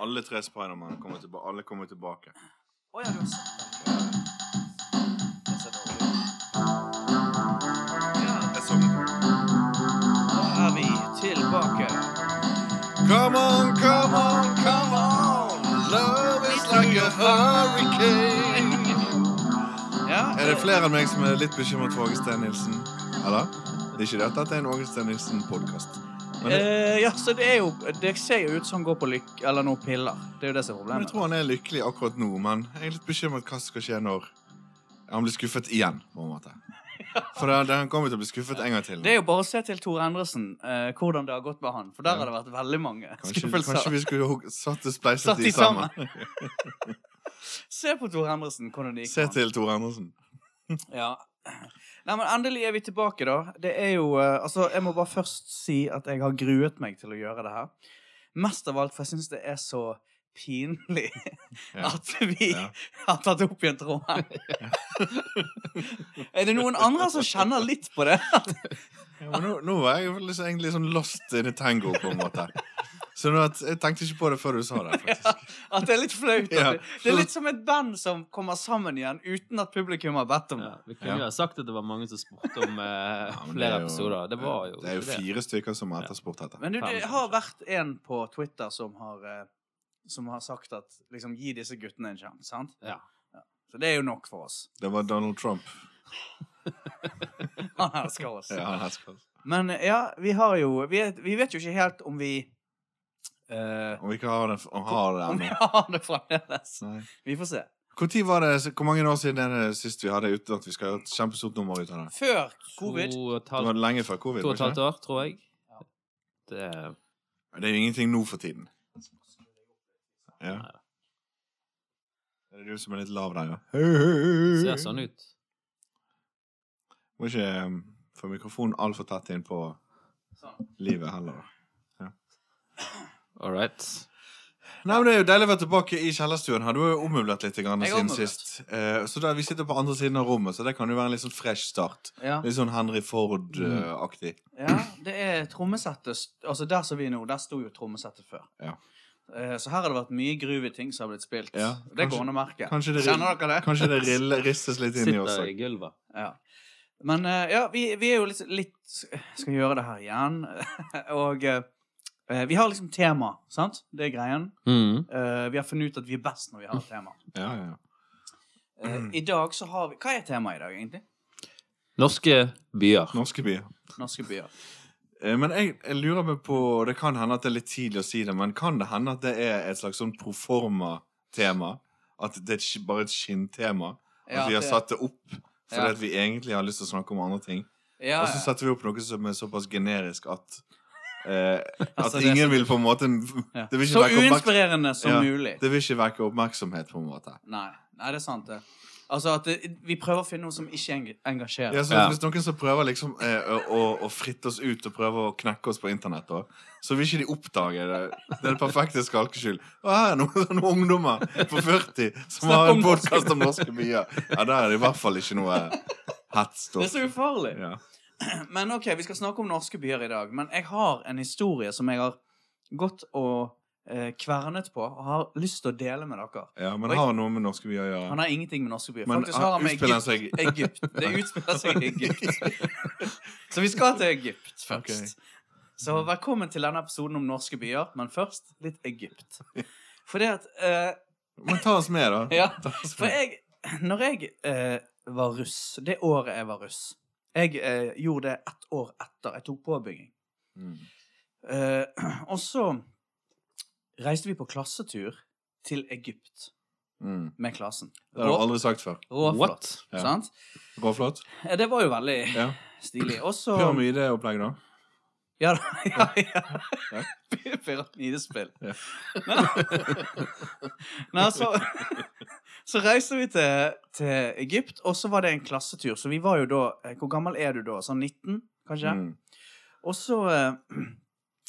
Alle tre Spiderman kommer tilbake. Alle kommer tilbake. Å ja, du har sett den. Jeg har sett den. Ja, Jeg sovnet. da er vi tilbake. Come on, come on, come on. Love is like a hurricane. Ja, Er det flere enn meg som er litt bekymret for Åge Steen Nilsen? Eller? Det er ikke det at dette er en Åge Steen Nilsen-podkast. Men, jeg- Eh, ja, så det er jo Det ser jo ut som går på lykke Eller noen piller. Det er jo det som er men jeg problemet. tror han er lykkelig akkurat nå, men jeg er litt bekymret hva som skal skje når han blir skuffet igjen, på en måte. For det, det, han kommer til å bli skuffet en gang til. Det er jo bare å se til Tor Endresen eh, hvordan det har gått med han. For Ja. der har det vært veldig mange Kanskje, kanskje skuffelser. vi skulle hugg- satt og spleiset Satt de de sammen. sammen. Se på Tor Endresen, hvordan det gikk Se med han. til Tor Andersen. Ja. Nei, men endelig er vi tilbake, da. Det er jo eh, Altså, jeg må bare først si at jeg har gruet meg til å gjøre det her. Mest av alt, for jeg syns det er så pinlig Ja. at vi Ja. har tatt opp igjen tråden. er det noen andre som kjenner litt på det? Ja, men nå, nå var jeg jo liksom, egentlig sånn lost in a tango, på en måte. Så nå, at- jeg tenkte ikke på det før du sa det, faktisk. At det er litt flaut? Ja. at Det, det er litt som et band som kommer sammen igjen uten at publikum har bedt om det. Ja, vi kunne jo ha sagt at det var mange som spurte om eh, Ja, men flere er jo- episoder. Det var jo Det er jo ikke fire stykker som har etterspurt dette. Men du, det Fem, har kanskje. vært en på Twitter som har, eh, som har sagt at liksom, gi disse guttene en sjanse, sant? Ja. Så det er jo nok for oss. Det var Donald Trump. Han elsker oss. Ja, han elsker oss. Men eh, ja, vi har jo Vi, er- vi vet jo ikke helt om vi eh, Om vi ikke har det, om har det Om vi ennå. har det fremdeles. Nei. Vi får se. Hvor, tid var det, hvor mange år siden er det sist vi hadde uten at vi skal gjøre et kjempestort nummer ut av det? Før det. covid To og et Det var halvt- lenge før covid. to og et var halvt ikke år, tror jeg. Det Det Det er jo ingenting nå for tiden. Ja. Er det du som er litt lav der, ja? ser sånn ut. Må ikke um, få mikrofonen altfor tett inn på Sånn. livet heller. All right. Nei, men Det er jo deilig å være tilbake i kjellerstuen. her. Du har jo ommøblert litt grann, Jeg har siden ommøblert. sist. Eh, så da, Vi sitter på andre siden av rommet, så det kan jo være en litt sånn fresh start. Ja. Mm. Litt sånn Henry Ford-aktig. ja, det er trommesettet st- Altså der som vi er nå, der sto jo trommesettet før. Ja. Eh, Så her har det vært mye groovy ting som har blitt spilt. Ja, det kanskje- går an å merke. kanskje det- Kjenner dere det? Kanskje det rille, ristes litt inn i oss Sitter i òg. gulvet. Ja. Men eh, ja, vi, vi er jo litt, litt Skal gjøre det her igjen. og eh, vi har liksom tema, sant? Det er greien. Mm. Eh, vi har funnet ut at vi er best når vi har et tema. Ja, ja, ja. Eh, I dag så har vi Hva er temaet i dag, egentlig? Norske byer. Norske byer. Norske byer. Eh, Men jeg, jeg lurer meg på Det kan hende at det er litt tidlig å si det, men kan det hende at det er et slags sånn proforma-tema? At det er et sk- bare et skinntema? At Ja, vi har det- satt det Altså, opp fordi Ja. at vi egentlig har lyst til å snakke om andre ting? Ja, Og så ja. setter vi opp noe som er såpass generisk at eh, At Altså, det er ingen så- vil på en måte ja. Det vil ikke Så vekke oppmerksomhet. uinspirerende som Ja, mulig. Det vil ikke vekke oppmerksomhet, på en måte. Nei, nei, det er sant, det. Altså at det, vi prøver å finne noe som ikke eng- engasjerer. Ja, så Ja. Hvis noen som prøver liksom eh, å, å, å fritte oss ut og prøve å knekke oss på internett, da, så vil ikke de oppdage det. Det er det perfekte skalkeskjul. Å, her er noen sånne ungdommer på 40 som Snakk har om en norske- podkast om norske byer. Ja, der er det i hvert fall ikke noe eh, Det er hets. så ufarlig. Ja. Men ok, vi skal snakke om norske byer i dag. Men jeg har en historie som jeg har gått og eh, kvernet på, og har lyst til å dele med dere. ja, men har noe med norske byer å gjøre. Han har ingenting med norske byer. Men Faktisk har han med utspiller han Egypt. seg Egypt. Det utspiller seg i Egypt. Så vi skal til Egypt først. Så velkommen til denne episoden om norske byer, men først litt Egypt. For det at eh, Men ta oss med, da. Ja, Ta oss for med. jeg Når jeg eh, var russ, det året jeg var russ Jeg eh, gjorde det ett år etter. Jeg tok påbygging. Mm. Eh, og så reiste vi på klassetur til Egypt Mm. med klassen. Det har du Rå- aldri sagt før. Råflott. What? Ja. Sant? Råflott? Eh, Det var jo veldig Ja. stilig. Og så Pyramideopplegg, da? Ja, da- ja, ja. Ja. Pyramidespill. Ja. Nei, så Så reiste vi til, til Egypt, og så var det en klassetur. Så vi var jo da eh, Hvor gammel er du da? Sånn 19, kanskje? Mm. Og så eh,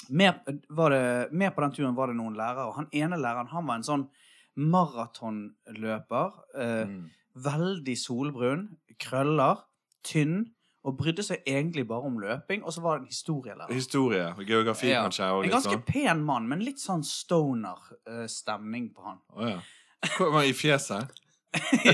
med, var det, med på den turen var det noen lærere, og han ene læreren han var en sånn maratonløper. Eh, Mm. Veldig solbrun, krøller, tynn og brydde seg egentlig bare om løping, og så var det en historielærer. Historie, geografi Ja. kanskje. Og En litt ganske sånn. pen mann, men litt sånn stoner-stemning på han. sånn. Å, ja. Hvor- men I fjeset?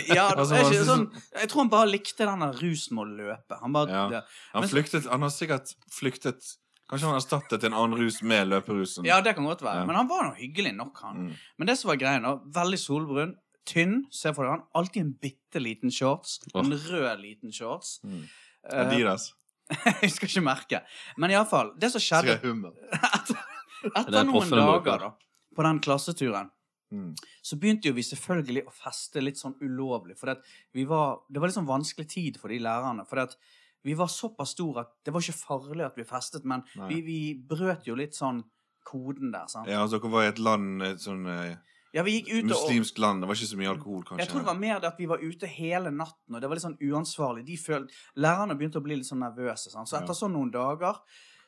ja, det Altså, er han ikke synes- sånn, jeg tror han bare likte den der rusen med å løpe. Han bare, Ja. ja. Han, Men- flyktet, han har sikkert flyktet Kanskje han erstattet en annen rus med løperusen. det kan godt være. Ja. Men han var noe hyggelig nok, han. Mm. Men det som var greia, da, veldig solbrun, tynn, se for deg han, alltid en bitte liten shorts. Åh. En rød liten shorts. Mm. Eh, Adidas. jeg skal ikke merke. Men iallfall, det som Sikkert skjedde Hummel. Det etter er noen proffene må dager da, på den klasseturen, Mm. så begynte jo vi selvfølgelig å feste litt sånn ulovlig. For at vi var, det var litt sånn vanskelig tid for de lærerne. For at vi var såpass store at det var ikke farlig at vi festet, men Nei. vi, vi brøt jo litt sånn koden der. sant? Ja, altså, dere var i et land, et sånn eh, Ja, vi gikk ut og muslimsk land. Det var ikke så mye alkohol, kanskje. Jeg tror det var mer det at vi var ute hele natten, og det var litt sånn uansvarlig. De følte, lærerne begynte å bli litt sånn nervøse. Sant? Så Ja. etter sånn noen dager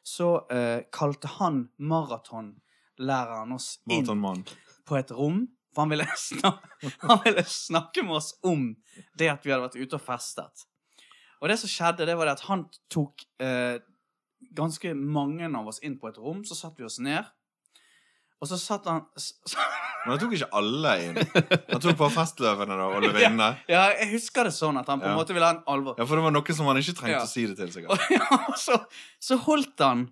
så eh, kalte han maratonlæreren oss inn Maratonmann. på et rom. For han ville, snak han ville snakke med oss om det at vi hadde vært ute og festet. Og det som skjedde, det var det at han tok eh, ganske mange av oss inn på et rom. Så satt vi oss ned. Og så satt han s- s- Men han tok ikke alle inn. Han tok bare festløvene da, og løvinnene. Ja, jeg husker det sånn at han på en Ja. måte ville ha en alvor. Ja, for det var noen som han ikke trengte Ja. å si det til. Og sikkert. ja, og så, så holdt han,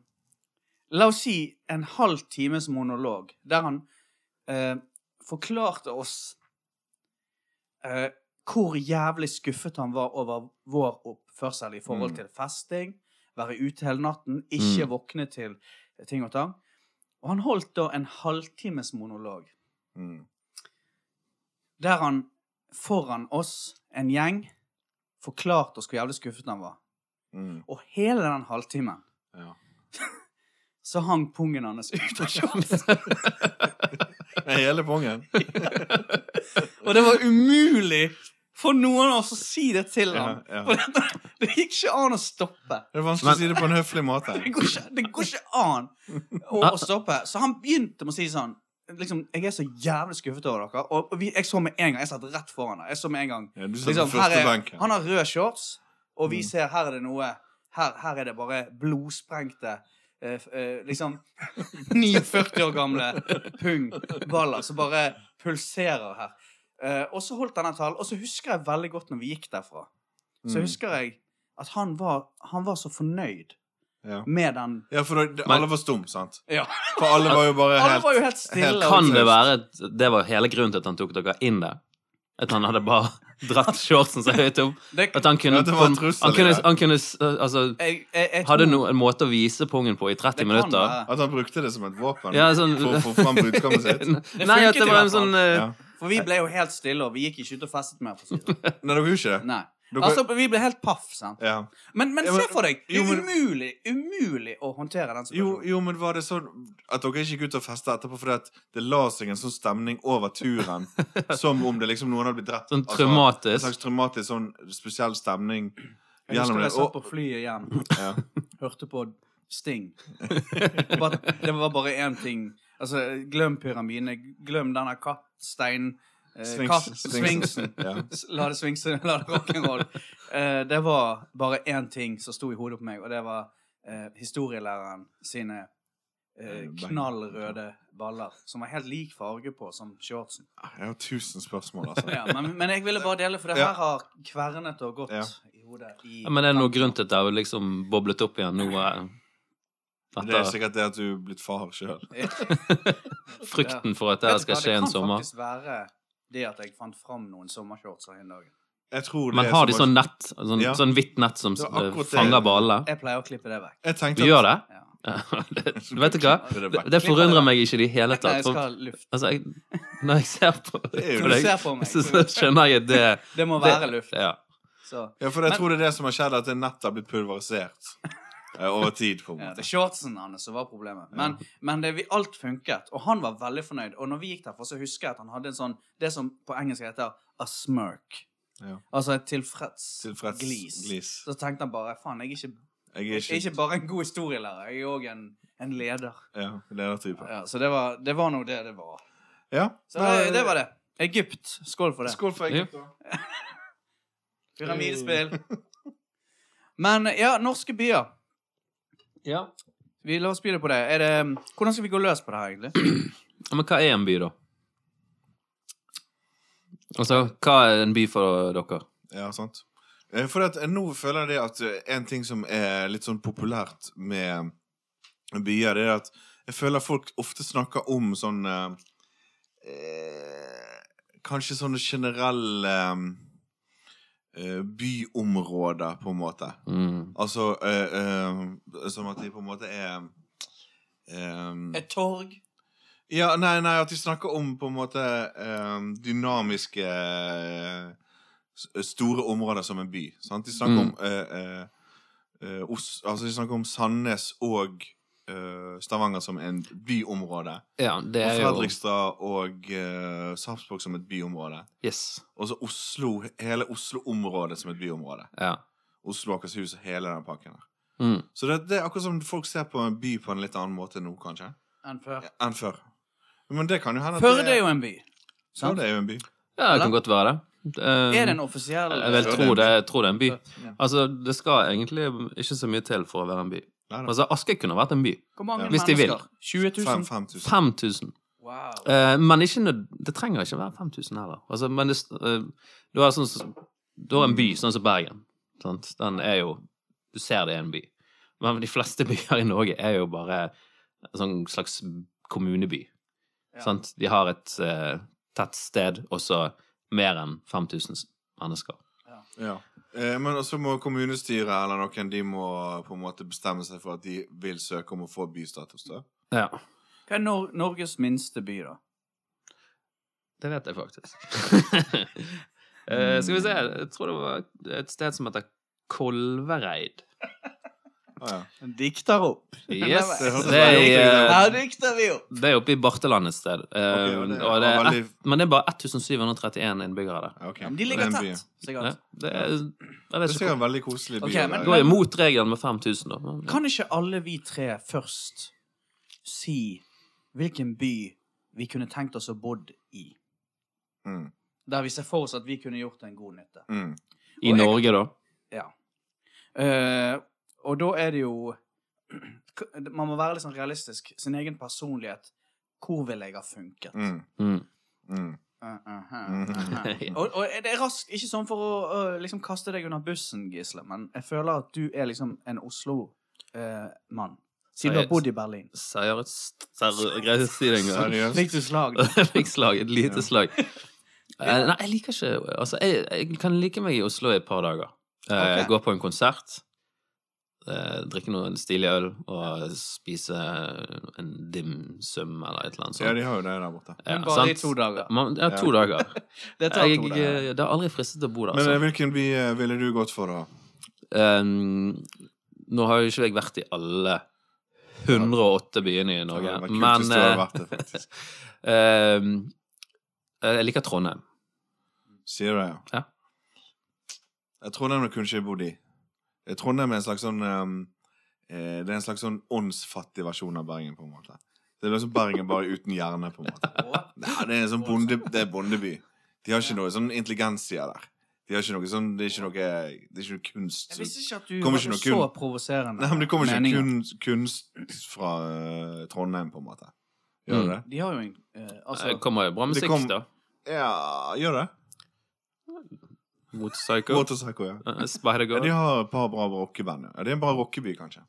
la oss si, en halv times monolog, der han eh, forklarte oss eh, hvor jævlig skuffet han var over vår oppførsel i forhold Mm. til festing, være ute hele natten, ikke Mm. våkne til ting og tang. Og han holdt da en halvtimes monolog, Mm. der han foran oss, en gjeng, forklarte oss hvor jævlig skuffet han var. Mm. Og hele den halvtimen Ja. så hang pungen hans ut av shortsen. Nei, Hele pungen. Og det var umulig for noen av oss å si det til Ja, ham. ja. For det, det gikk ikke an å stoppe. Det er vanskelig å si det på en høflig måte. Det går ikke, det går ikke an å, å stoppe. Så han begynte med å si sånn liksom, Jeg er så jævlig skuffet over dere. Og vi, jeg så med en gang, jeg satt rett foran deg. Jeg så med en gang Ja, du satt liksom, på her første er, benken. Han har rød shorts, og vi Mm. ser her er det noe Her, her er det bare blodsprengte eh, f- eh, liksom 49 år gamle pungballer som bare pulserer her. Eh, og så holdt han den talen, og så husker jeg veldig godt når vi gikk derfra. Så Mm. husker jeg at han var, han var så fornøyd Ja. med den Ja, for da, Men- alle var stum, sant? Ja. For alle var jo bare Alle helt var jo helt stille. og- Kan det være at det var hele grunnen til at han tok dere inn der? At han hadde bare dratt shortsen så høyt opp? det, At han kunne, Ja, det var en han, trussel, kunne, ja. han kunne s- Altså, jeg, jeg, jeg hadde tror- no, en måte å vise pungen på i det 30 kan minutter. være. At han brukte det som et våpen Ja, sånn- for å få fram budskapet sitt? Nei, at i det var hvert fall. en sånn eh, Ja. For vi ble jo helt stille, og vi gikk ikke ut og festet mer. For å si det. sånn. Nei, dere gjorde ikke det? Nei. Dere, Altså, vi ble helt paff, sant? ja. Men, men Ja, se men- for deg, det jo, er men- umulig, umulig å håndtere den jo, situasjonen. jo, men var det sånn at dere ikke gikk ut og festa etterpå fordi at det la seg en sånn stemning over turen? Som om det liksom noen hadde blitt drept? sånn Altså, en traumatisk slags traumatisk sånn spesiell stemning Jeg gjennom husker det. jeg satt Og, på flyet hjem, ja. hørte på Sting. Bare- Det var bare én ting. Altså, glem pyramidene, glem denne kattstein... eh, Svings- katt- svingsen. Svingsen. Ja. S- La det svingse, la det rock'n'roll. Eh, det var bare én ting som sto i hodet på meg, og det var eh, historielæreren sine eh, Eh, bang. knallrøde baller, som var helt lik farge på som shortsen. Jeg har tusen spørsmål, altså. Ja, men, men jeg ville bare dele, for det Ja. her har kvernet og gått Ja. i hodet. I ja, Men det er noe grunn til at det har liksom boblet opp igjen nå. eh, Det er Etter sikkert det at du er blitt far sjøl. frykten for at Vet det du her skal hva, skje en Det kan sommer. faktisk være det at jeg fant fram noen sommershorts her en dag. Jeg tror det Men er har de som- sånn nett? Sånn, Ja. sånn hvitt nett som Det er eh, akkurat det. fanger ballene? Jeg pleier å klippe det vekk. Jeg tenkte Du gjør det? Ja. det? Vet du hva? Klipper det Det, vekk. det forundrer vekk. meg ikke i det hele Nei, tatt. jeg For, skal ha luft. altså, jeg, når jeg ser på, på er jo- Når du deg, ser på meg, så, så skjønner jeg at det det må det- være luft. Ja. Så. Ja, for jeg Men- tror det er det som har skjedd, at det nettet har blitt pulverisert eh, over tid. på en Ja, det måte. er shortsen hans som var problemet. Men, men det, vi- alt funket, og han var veldig fornøyd. Og når vi gikk derfor, så husker jeg at han hadde en sånn, det som på engelsk heter a smirk. Ja. Altså et tilfreds, Tilfreds glis. glis. Så tenkte han bare faen, jeg er Jeg ikke, jeg er er ikke ikke bare en god historielærer, jeg er òg en, en leder. ja, ledertype. Ja, så det var, det var nå det det var. Ja. Så det, det var det. Egypt. Skål for det. Skål for Egypt, da. Pyramidespill. Men ja, norske byer. Ja. Vi La oss begynne på det. Er det. um, Hvordan skal vi gå løs på det her, egentlig? Men hva er en by, da? Altså, hva er en by for dere? Ja, sant. Eh, For at, eh, nå føler jeg det at eh, en ting som er litt sånn populært med byer, det er at jeg føler folk ofte snakker om sånn eh, eh, Kanskje sånne generelle eh, eh, byområder, på en måte. Mm. Altså eh, eh, Som at de på en måte er eh, Et torg? ja, nei, nei, at de snakker om på en måte eh, dynamiske eh, s- store områder som en by. Sant? De snakker Mm. om eh, eh, eh, Os Altså, de snakker om Sandnes og eh, Stavanger som en byområde. Ja, det Og er jo Fredrikstad og eh, Sarpsborg som et byområde. Yes. Og så Oslo, hele Oslo-området som et byområde. Ja. Oslo, Akershus og hele den pakken der. Mm. Så det, det er akkurat som folk ser på en by på en litt annen måte nå, kanskje, Enn før. enn før. Men det kan jo hende at Førde det- er jo en by. så Sant? det er jo en by. Ja, det kan godt være det. Um, Er det en offisiell Jeg vil Tror det tro det, jeg tror det er en by. Ja. Altså, Det skal egentlig ikke så mye til for å være en by. Nei, da. Altså, Askøy kunne vært en by. Hvor mange Ja. Hvis de vil. mennesker? 20 Fem- 000? 5000. 5000. Wow. Eh, men ikke nød... det trenger ikke være 5000 heller. Altså, men det, eh, du, har sånn, som- du har en by sånn som Bergen. Sant? Den er jo Du ser det er en by. Men de fleste byer i Norge er jo bare en sånn slags kommuneby. Ja. Sånn. Sant? De har et eh, tett sted, og så mer enn 5000 mennesker. Ja. Eh, men også må kommunestyret eller noen De må på en måte bestemme seg for at de vil søke om å få bystatus. da Ja. Hva er Nor Norges minste by, da? Det vet jeg faktisk. Eh, skal vi se Jeg tror det var et sted som heter Kolvereid. Ah, ja. Den dikter opp. Yes. Det hørtes Det er, veldig i, ut, eh, Her dikter vi opp! det er oppe i Barteland et sted. Eh, Ok, ja, det er og det er veldig- ett- men det er bare 1731 innbyggere der. Ja, ok. Ja, men de Det ligger er en by. tett, Ja, sikkert. det er, jeg Det vet er ikke sikkert hvor- en veldig koselig by. Ok, der. men- Går imot regelen med 5000, da. Kan ikke alle vi tre først si hvilken by vi kunne tenkt oss å bodd i? Mm, Der vi ser for oss at vi kunne gjort en god nytte. mm. I Norge, da. Ja. Eh, og da er det jo Man må være litt sånn realistisk. Sin egen personlighet. Hvor vil jeg ha funket? Mm. Mm. Mm. Eh, eh, Mm. eh, eh. og, og det er raskt ikke sånn for å å liksom kaste deg under bussen, Gisle, men jeg føler at du er liksom en Oslo-mann. siden du har bodd i Berlin. Seriøst Seriøst Greier ikke å si det engang. Seriøst? Fikk du slag? Jeg fikk slag. Et lite Ja. slag. Eh, Nei, jeg liker ikke Altså, jeg, jeg kan like meg i Oslo i et par dager. Eh, Ok. Gå på en konsert, eh, drikke noe stilig øl og spise en dim sum eller et eller annet Ja, sånt. de har jo det der borte. Altså- Ja, Men bare sant? i to dager. Man, ja, to dager. Det tar Jeg, to dager. eh, det har aldri fristet å bo der, Men eh, altså. hvilken by eh, ville du gått for, da? Um, nå har jo ikke jeg vært i alle 108 byene i Norge, det var kult men hvis du hadde eh, vært det, faktisk. um, eh, Jeg liker Trondheim. Sier du det? Ja. Jeg Trondheim jeg kunne ikke bodd i. Eh, Trondheim er en slags sånn ehm, eh, Det er en slags sånn åndsfattig versjon av Bergen, på en måte. Det er liksom Bergen bare uten hjerne, på en måte. Å, Nei, det er en sånn bonde, det er bondeby. De har ikke noe sånn intelligensia der. De har ikke noe sånn, det er ikke noe, det er ikke noe kunst. Jeg visste ikke at du Kommer var ikke noe så provoserende. Nei, men det kommer ikke meninger. kunst, kunst fra eh, Trondheim, på en måte. Gjør det det? De har jo en eh, altså, Det kommer jo bra Det musikk, kom- da. Ja, gjør det. Mot Psycho. Motorpsycho, ja. Uh, ja. Spider-Girl. De har et par bra rockeband. ja. Ja, det er en bra rockeby, kanskje.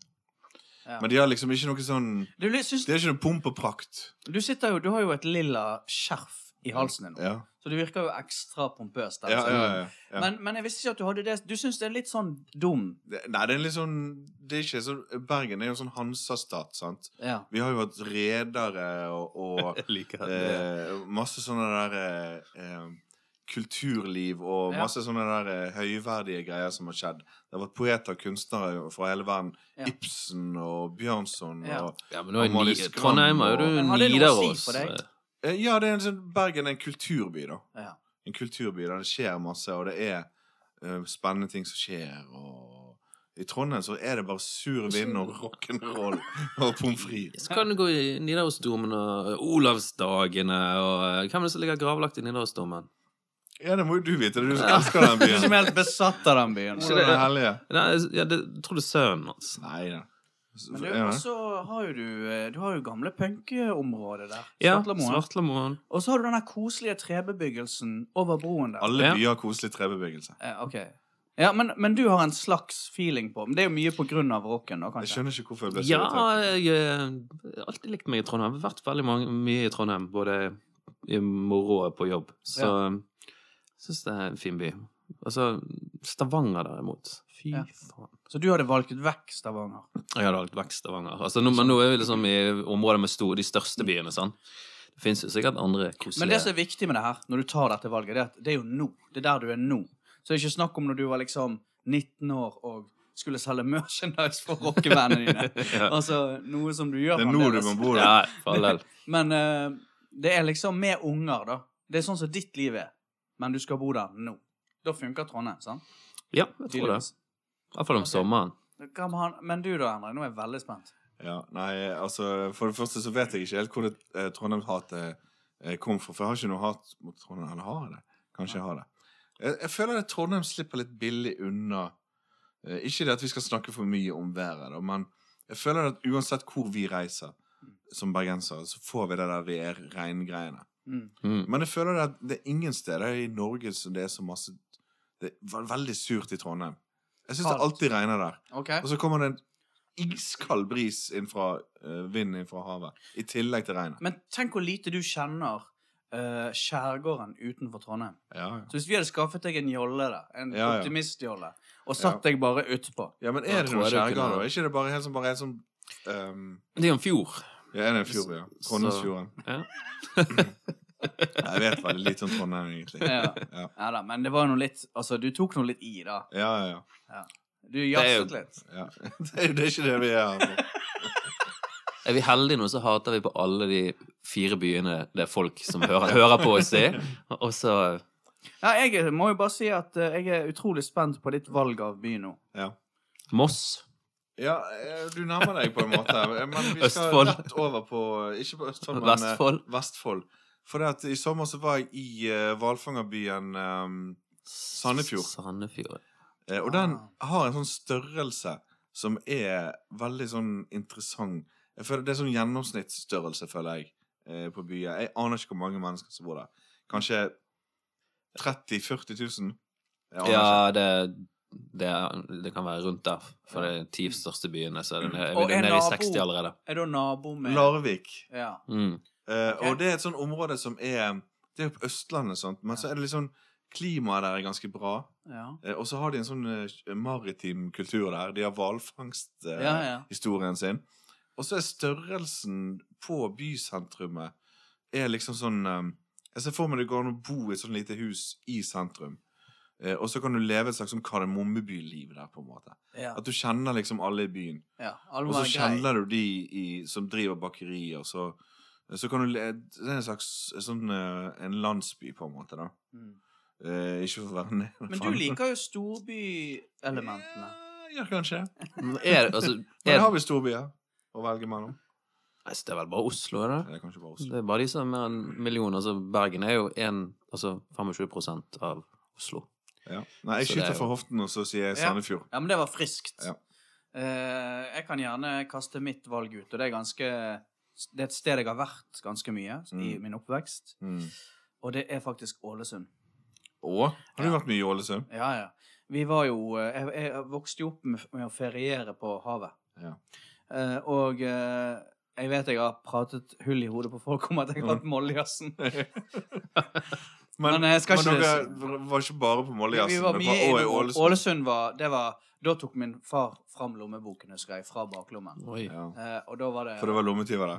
Ja. Men de har liksom ikke noe sånn du, li- syns, Det er ikke noe pomp og prakt. du sitter jo Du har jo et lilla skjerf i halsen din nå, Ja, så du virker jo ekstra pompøs der. ja, altså. ja, ja, ja. Men, men jeg visste ikke at du hadde det. Du syns det er litt sånn dum. Det- Nei, det er litt sånn Det er ikke sånn Bergen er jo sånn Hansa-stat, sant? Ja. Vi har jo hatt redere og, og Jeg liker det. Eh, masse sånne der eh, eh, kulturliv og Ja. masse sånne der eh, høyverdige greier som har skjedd. Det har vært poeter og kunstnere fra hele verden. Ja. Ibsen og Bjørnson Ja. og Ja, men nå er Og Molly Ni- Skram Trondheim er jo og- du Men har det noe å si Nidaros. for deg? eh, eh, Ja, det er en sånn Bergen er en kulturby, da. Ja. En kulturby der det skjer masse, og det er eh, spennende ting som skjer. og i Trondheim så er det bare sur vind og rock'n'roll og pommes frites. Så kan du gå i eh, Nidarosdomen og Olavsdagene og eh, Hvem er det som ligger gravlagt i Nidarosdomen? Ja, det må jo du vite. Det er du som elsker den Du er som byen. er helt besatt av den byen. Hvordan er det hellige? Nei, ja, det, jeg tror det er sønnen hans. Nei da. Men du, Er det? også har jo du eh, Du har jo gamle punkeområdet der. Ja, Svartlamoen. Svartlamoen. Og så har du den der koselige trebebyggelsen over broen der. Alle Ja. byer har koselig trebebyggelse. Eh, ok. Ja, men, men du har en slags feeling på Men det er jo mye på grunn av rocken, da, Jeg kanskje. skjønner ikke hvorfor jeg ble så Ja, irritert. jeg eh, har alltid likt meg i Trondheim. Jeg har vært veldig mange, mye i Trondheim, både i moro og på jobb. Så jeg syns det er en fin by. Altså, Stavanger derimot. Fy Ja. faen. Så du hadde valgt vekk Stavanger. Jeg hadde valgt vekk Stavanger. Altså, nå, men nå er vi liksom i områder med stor, de største byene, sant. Det fins jo sikkert andre koselige Men det som er viktig med det her, når du tar dette valget, det er at det er jo nå. Det er der du er nå. Så det er ikke snakk om når du var liksom 19 år og skulle selge merchandise for rockevennene dine. ja. Altså noe som du gjør Det er nå du må fremdeles. bo der. ja, for all del. Men eh, det er liksom med unger, da. Det er sånn som ditt liv er. Men du skal bo der nå. Da funker Trondheim, sant? Ja, jeg tror det. Tydeligvis. I hvert fall om Ok. sommeren. Hva med han- Men du da, Henrik? Nå er jeg veldig spent. Ja, nei, altså For det første så vet jeg ikke helt hvor det eh, Trondheim-hatet eh, kom fra. For jeg har ikke noe hat mot Trondheim. Eller har jeg det? Kanskje jeg har det. Jeg, jeg føler at Trondheim slipper litt billig unna. Eh, ikke det at vi skal snakke for mye om været, da, men jeg føler at uansett hvor vi reiser som bergensere, så får vi det der vær-regn-greiene. Mm. Mm. Men jeg føler at det er ingen steder i Norge som det er så masse Det er ve- veldig surt i Trondheim. Jeg syns det Kaldt. alltid regner der. OK? Og så kommer det en iskald bris inn fra eh, vinden inn fra havet. I tillegg til regnet. Men tenk hvor lite du kjenner eh, skjærgården utenfor Trondheim. Ja, ja. Så hvis vi hadde skaffet deg en jolle, da, en Ja, ja. optimistjolle, og satt deg bare utpå ja men Da er det tror noe jeg det kunne- skjærgård, da? Er ikke det bare helt som bare en sånn ehm, Det er jo en fjord. Ja, er det en fjord, ja? Trondheimsfjorden. Ja. Jeg vet veldig lite om Trondheim, egentlig. ja. Ja. ja da, men det var jo noe litt Altså, du tok noe litt i, da. Ja, ja, Du er jo- jazzet litt. ja. ja. Det, er, jo- det er ikke det vi er her for. Er vi heldige nå, så hater vi på alle de fire byene det er folk som hører, hører på oss i. Og så Ja, jeg er- må jo bare si at eh, jeg er utrolig spent på ditt valg av by nå. Ja. Moss. Ja, eh, du nærmer deg på en måte. her, Eh, Men vi skal Østfold. rett over på Ikke på Østfold, men eh, Vestfold. Vestfold. For det at i sommer så var jeg i eh, hvalfangerbyen ehm, Sandefjord. Sandefjord. Eh, og den Ah. har en sånn størrelse som er veldig sånn interessant. Jeg føler Det er sånn gjennomsnittsstørrelse, føler jeg, eh, på byer. Jeg aner ikke hvor mange mennesker som bor der. Kanskje 30 000-40 000? Jeg aner ikke. Ja, det, det, det kan være rundt der. For det er de ti største byene, så er det nede, Og vi er en nede i nabo. 60 allerede. Er da nabo med Larvik. Ja. Mm. Eh, Ok. Og det er et sånn område som er Det er jo på Østlandet, sant? men så er det litt sånn Klimaet der er ganske bra. ja. Eh, og så har de en sånn eh, maritim kultur der. De har hvalfangsthistorien eh, Ja, ja. sin. Og så er størrelsen på bysentrumet er liksom sånn eh, Jeg ser for meg det går an å bo i et sånn lite hus i sentrum. Eh, og så kan du leve et slags sånn kardemommebyliv der, på en måte. Ja. At du kjenner liksom alle i byen. ja. Alle Og så må være grei. kjenner du de i, som driver bakeri, og så eh, Så kan du le... Det er en slags sånn eh, en landsby, på en måte, da. Mm. Eh, ikke for å være ned. Men du liker jo storbyelementene. Ja, kanskje. Men Er, det- altså, Men er, har vi storbyer å velge mellom? Nei, så det er vel bare Oslo, er det? Det er kanskje bare Oslo. Det er bare de som er mer enn million. Altså, Bergen er jo en, altså 25 av Oslo. Ja. Nei, jeg Så det er skyter jo- fra hoften, og så sier jeg Ja. Sandefjord. Ja, men det var friskt. Ja. Eh, jeg kan gjerne kaste mitt valg ut, og det er ganske Det er et sted jeg har vært ganske mye i Mm. min oppvekst, Mm. og det er faktisk Ålesund. Og har du Ja. vært mye i Ålesund? Ja, ja. Vi var jo eh, Jeg, jeg vokste jo opp med, med å feriere på havet. Ja. Eh, og eh, jeg vet jeg har pratet hull i hodet på folk om at jeg har hatt Mm. mollejazzen. Men jeg skal men ikke- dere var ikke bare på Vi Mollejazzen. var Dere mye var i også i Ålesund. Ålesund. Ålesund var, det var Da tok min far fram lommeboken, husker jeg, fra baklommen. Oi. Ja. Eh, og da var det For det var lommetyver der.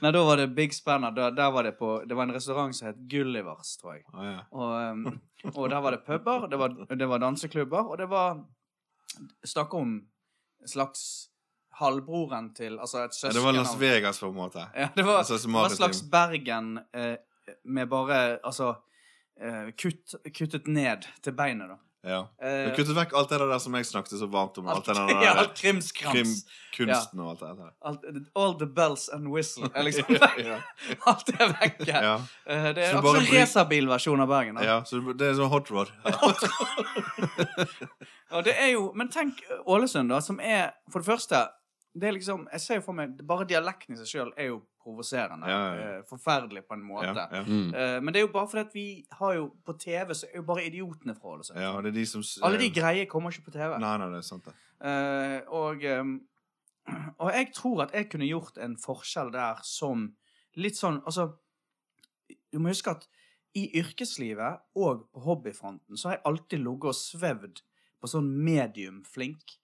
Nei, da var det Big Spanner. Da, der var det, på, det var en restaurant som het Gullivers, tror jeg. Ah, ja. Og, um, og der var det puber, det var, det var danseklubber, og det var Snakk om en slags halvbroren til Altså et Ja, søsken Det var Las av- Vegas, på en måte. Ja, det var, Altså, som det var maritim. en slags Bergen eh, med bare Altså eh, kutt, kuttet ned til beinet, da. Ja. Eh, Men kuttet vekk alt det der som jeg snakket så varmt om. Alt det der ja, alt krimskrams. krimkunsten og alt det der. Alt, all the bells and whistle. Er liksom Ja. Alt er vekke. Ja. Eh, det er Så altså bare en bruk- racerbilversjon av Bergen. da. ja, så det er sånn hot rod. Ja, det er jo, men tenk eh, Ålesund, da, som er For det første det er liksom, jeg ser jo for meg, Bare dialekten i seg sjøl er jo provoserende. Ja, ja, ja. eh, Forferdelig på en Ja, måte. ja. Mm. Eh, Men det er jo bare fordi at vi har jo på TV så er jo bare idiotene fra Ålesund. ja, det er de som s- eh, Alle de greie kommer ikke på TV. Nei, nei, det er sant, det. Eh, og, eh, og jeg tror at jeg kunne gjort en forskjell der som litt sånn Altså, du må huske at i yrkeslivet og på hobbyfronten så har jeg alltid ligget og svevd på sånn medium flink.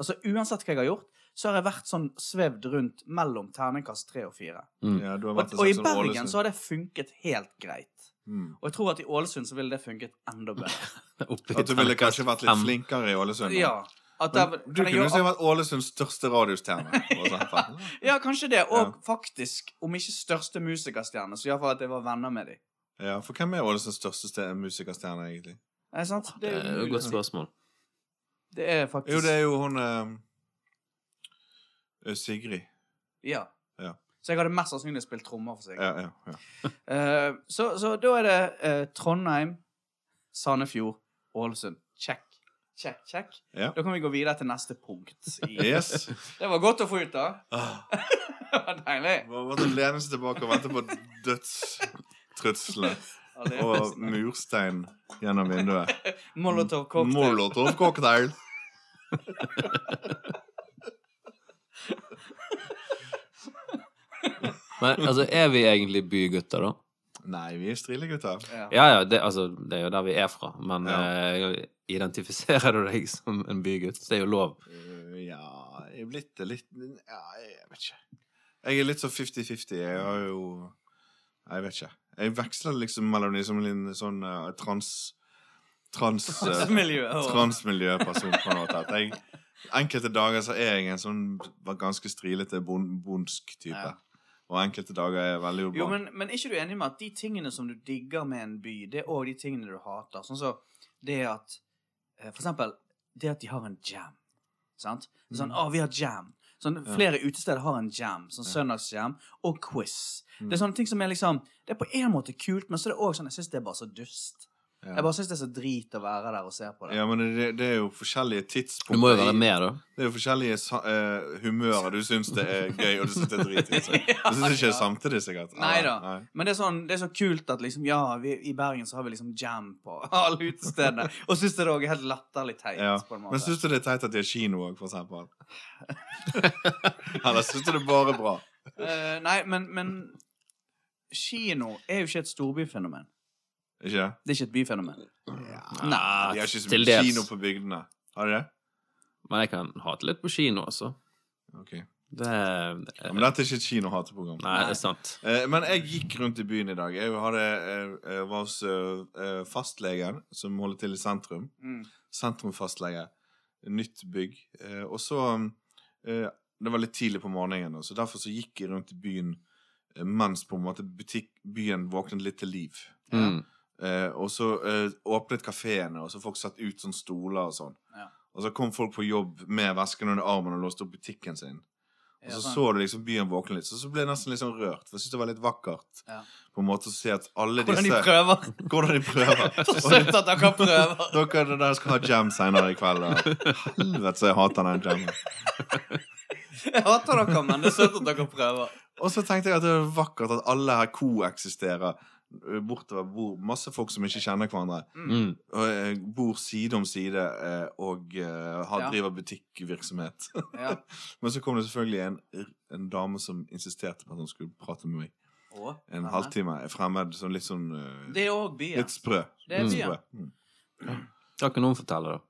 Altså uansett hva jeg har gjort, så har jeg vært sånn svevd rundt mellom terningkast tre og fire. Mm. Ja, du har Og, vært en og i slags sånn Bergen Ålesund. så har det funket helt greit. Mm. Og jeg tror at i Ålesund så ville det funket enda bedre. Oppi Eh, At du ville terningkast kanskje vært litt fem. flinkere i Ålesund. da. Ja. At Men der, du kan jeg kunne jo gjøre si vært Ålesunds største radiostjerne. og sånn, faen. Ja, kanskje det. Og Ja. faktisk, om ikke største musikerstjerne, så iallfall at jeg var venner med dem. Ja, For hvem er Ålesunds største ste- musikerstjerne, egentlig? Er det sant? Det Det er er, jo et umulig. godt spørsmål. det er faktisk Jo, det er jo hun eh, Sigrid. Ja. Ja. Så jeg hadde mest sannsynlig spilt trommer for seg. Ja, ja, ja. Eh, så, så da er det eh, Trondheim, Sandefjord, Ålesund. Check. Check, check. Ja. Da kan vi gå videre til neste punkt. I. Yes. Det var godt å få ut, da. Ah, Det var deilig. Bare måtte lene seg tilbake og vente på dødstrusler og murstein gjennom vinduet. Molotov cocktail. Molotov cocktail. Men altså, er vi egentlig bygutter, da? Nei, vi er strillegutter. Ja. Ja ja, det, altså, det er jo der vi er fra. Men eh, identifiserer du deg som en bygutt? Det er jo lov. Eh, Ja, jeg er blitt det litt Ja, jeg vet ikke. Jeg er litt sånn 50-50. Jeg har jo Jeg vet ikke. Jeg veksler liksom mellom liksom en sånn eh, trans... Trans... eh, Miljø og- transmiljøperson på en måte. At jeg, enkelte dager så er jeg en sånn ganske strilete bon, bondsk type. Ja. Og enkelte dager er jeg veldig urban. Jo, men, men er ikke du enig med at de tingene som du digger med en by, det er òg de tingene du hater? Sånn som det at eh, For eksempel det at de har en jam. Sant? Sånn, Mm. å, vi har jam. Sånn, Ja. Flere utesteder har en jam, sånn søndagsjam, og quiz. Det er Mm. sånne ting som er liksom Det er på en måte kult, men så er det òg sånn Jeg syns det er bare så dust. Ja. Jeg bare syns det er så drit å være der og se på det. ja, men det, det er jo forskjellige tidspunkter Du må jo i- være med, da. Det er jo forskjellige sa eh, humører. Du syns det er gøy, og du syns det er drit. Liksom. Du syns ikke det er samtidig, sikkert. Nei da. Men det er, sånn, det er så kult at liksom, ja, vi, i Bergen så har vi liksom jam på alle utestedene. Og syns det òg er helt latterlig teit. Ja. på en måte. Men syns du det er teit at de er kino òg, for eksempel? Eller syns du det er bare bra? Eh, nei, men, men Kino er jo ikke et storbyfenomen. Ikke? Det er ikke et byfenomen. De Nei, har ikke så til mye dels. kino på bygdene. Har de det? Men jeg kan hate litt på kino, altså. Ok. Det Ja, er men dette er ikke et kinohateprogram. Nei, det er sant. Eh, men jeg gikk rundt i byen i dag. Jeg hadde, eh, eh, var hos eh, eh, fastlegen, som holder til i sentrum. Mm. sentrumfastlege, nytt bygg. Eh, og så eh, Det var litt tidlig på morgenen, og så derfor så gikk jeg rundt i byen eh, mens på en måte butikk, byen våknet litt til liv. Mm. Eh, og så eh, åpnet kafeene, og så folk satt ut sånn stoler og sånn. Ja. Og så kom folk på jobb med vesken under armen og låste opp butikken sin. Og så Ja, sant. så du liksom byen våkne litt, så, så ble jeg nesten litt sånn rørt. For jeg syntes det var litt vakkert Ja. på en måte å se at alle Hvordan de disse prøver. Hvordan de prøver. Så søtt at dere prøver. Dere dere skal ha jam senere i kveld. Da. Helvete, så jeg hater den jammen. Jeg hater dere, men det er søtt at dere prøver. Og så tenkte jeg at det er vakkert at alle her koeksisterer. eh, Bortover bor masse folk som ikke kjenner hverandre. Mm. Og eh, bor side om side eh, og eh, har, Ja. driver butikkvirksomhet. Ja. Men så kom det selvfølgelig en, en dame som insisterte på at hun skulle prate med meg. Og, En Nei. halvtime fremmed, sånn litt sånn eh, Det er òg byen. Litt sprø. Det er Litt byen. sprø. Mm. Da kan noen fortelle, da.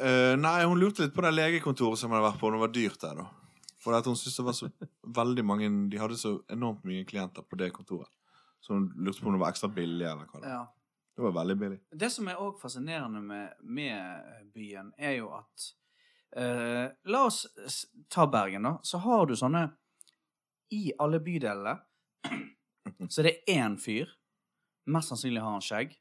Eh, nei, hun lurte litt på det legekontoret som hun hadde vært på. og Det var dyrt der, da. For at hun syntes det var så veldig mange De hadde så enormt mye klienter på det kontoret. Så hun lurte på om det var ekstra billig. eller hva Det var. Ja. Det var veldig billig. Det som er òg fascinerende med, med eh, byen, er jo at eh, La oss s- ta Bergen, da. Så har du sånne I alle bydelene så er det én fyr. Mest sannsynlig har han skjegg.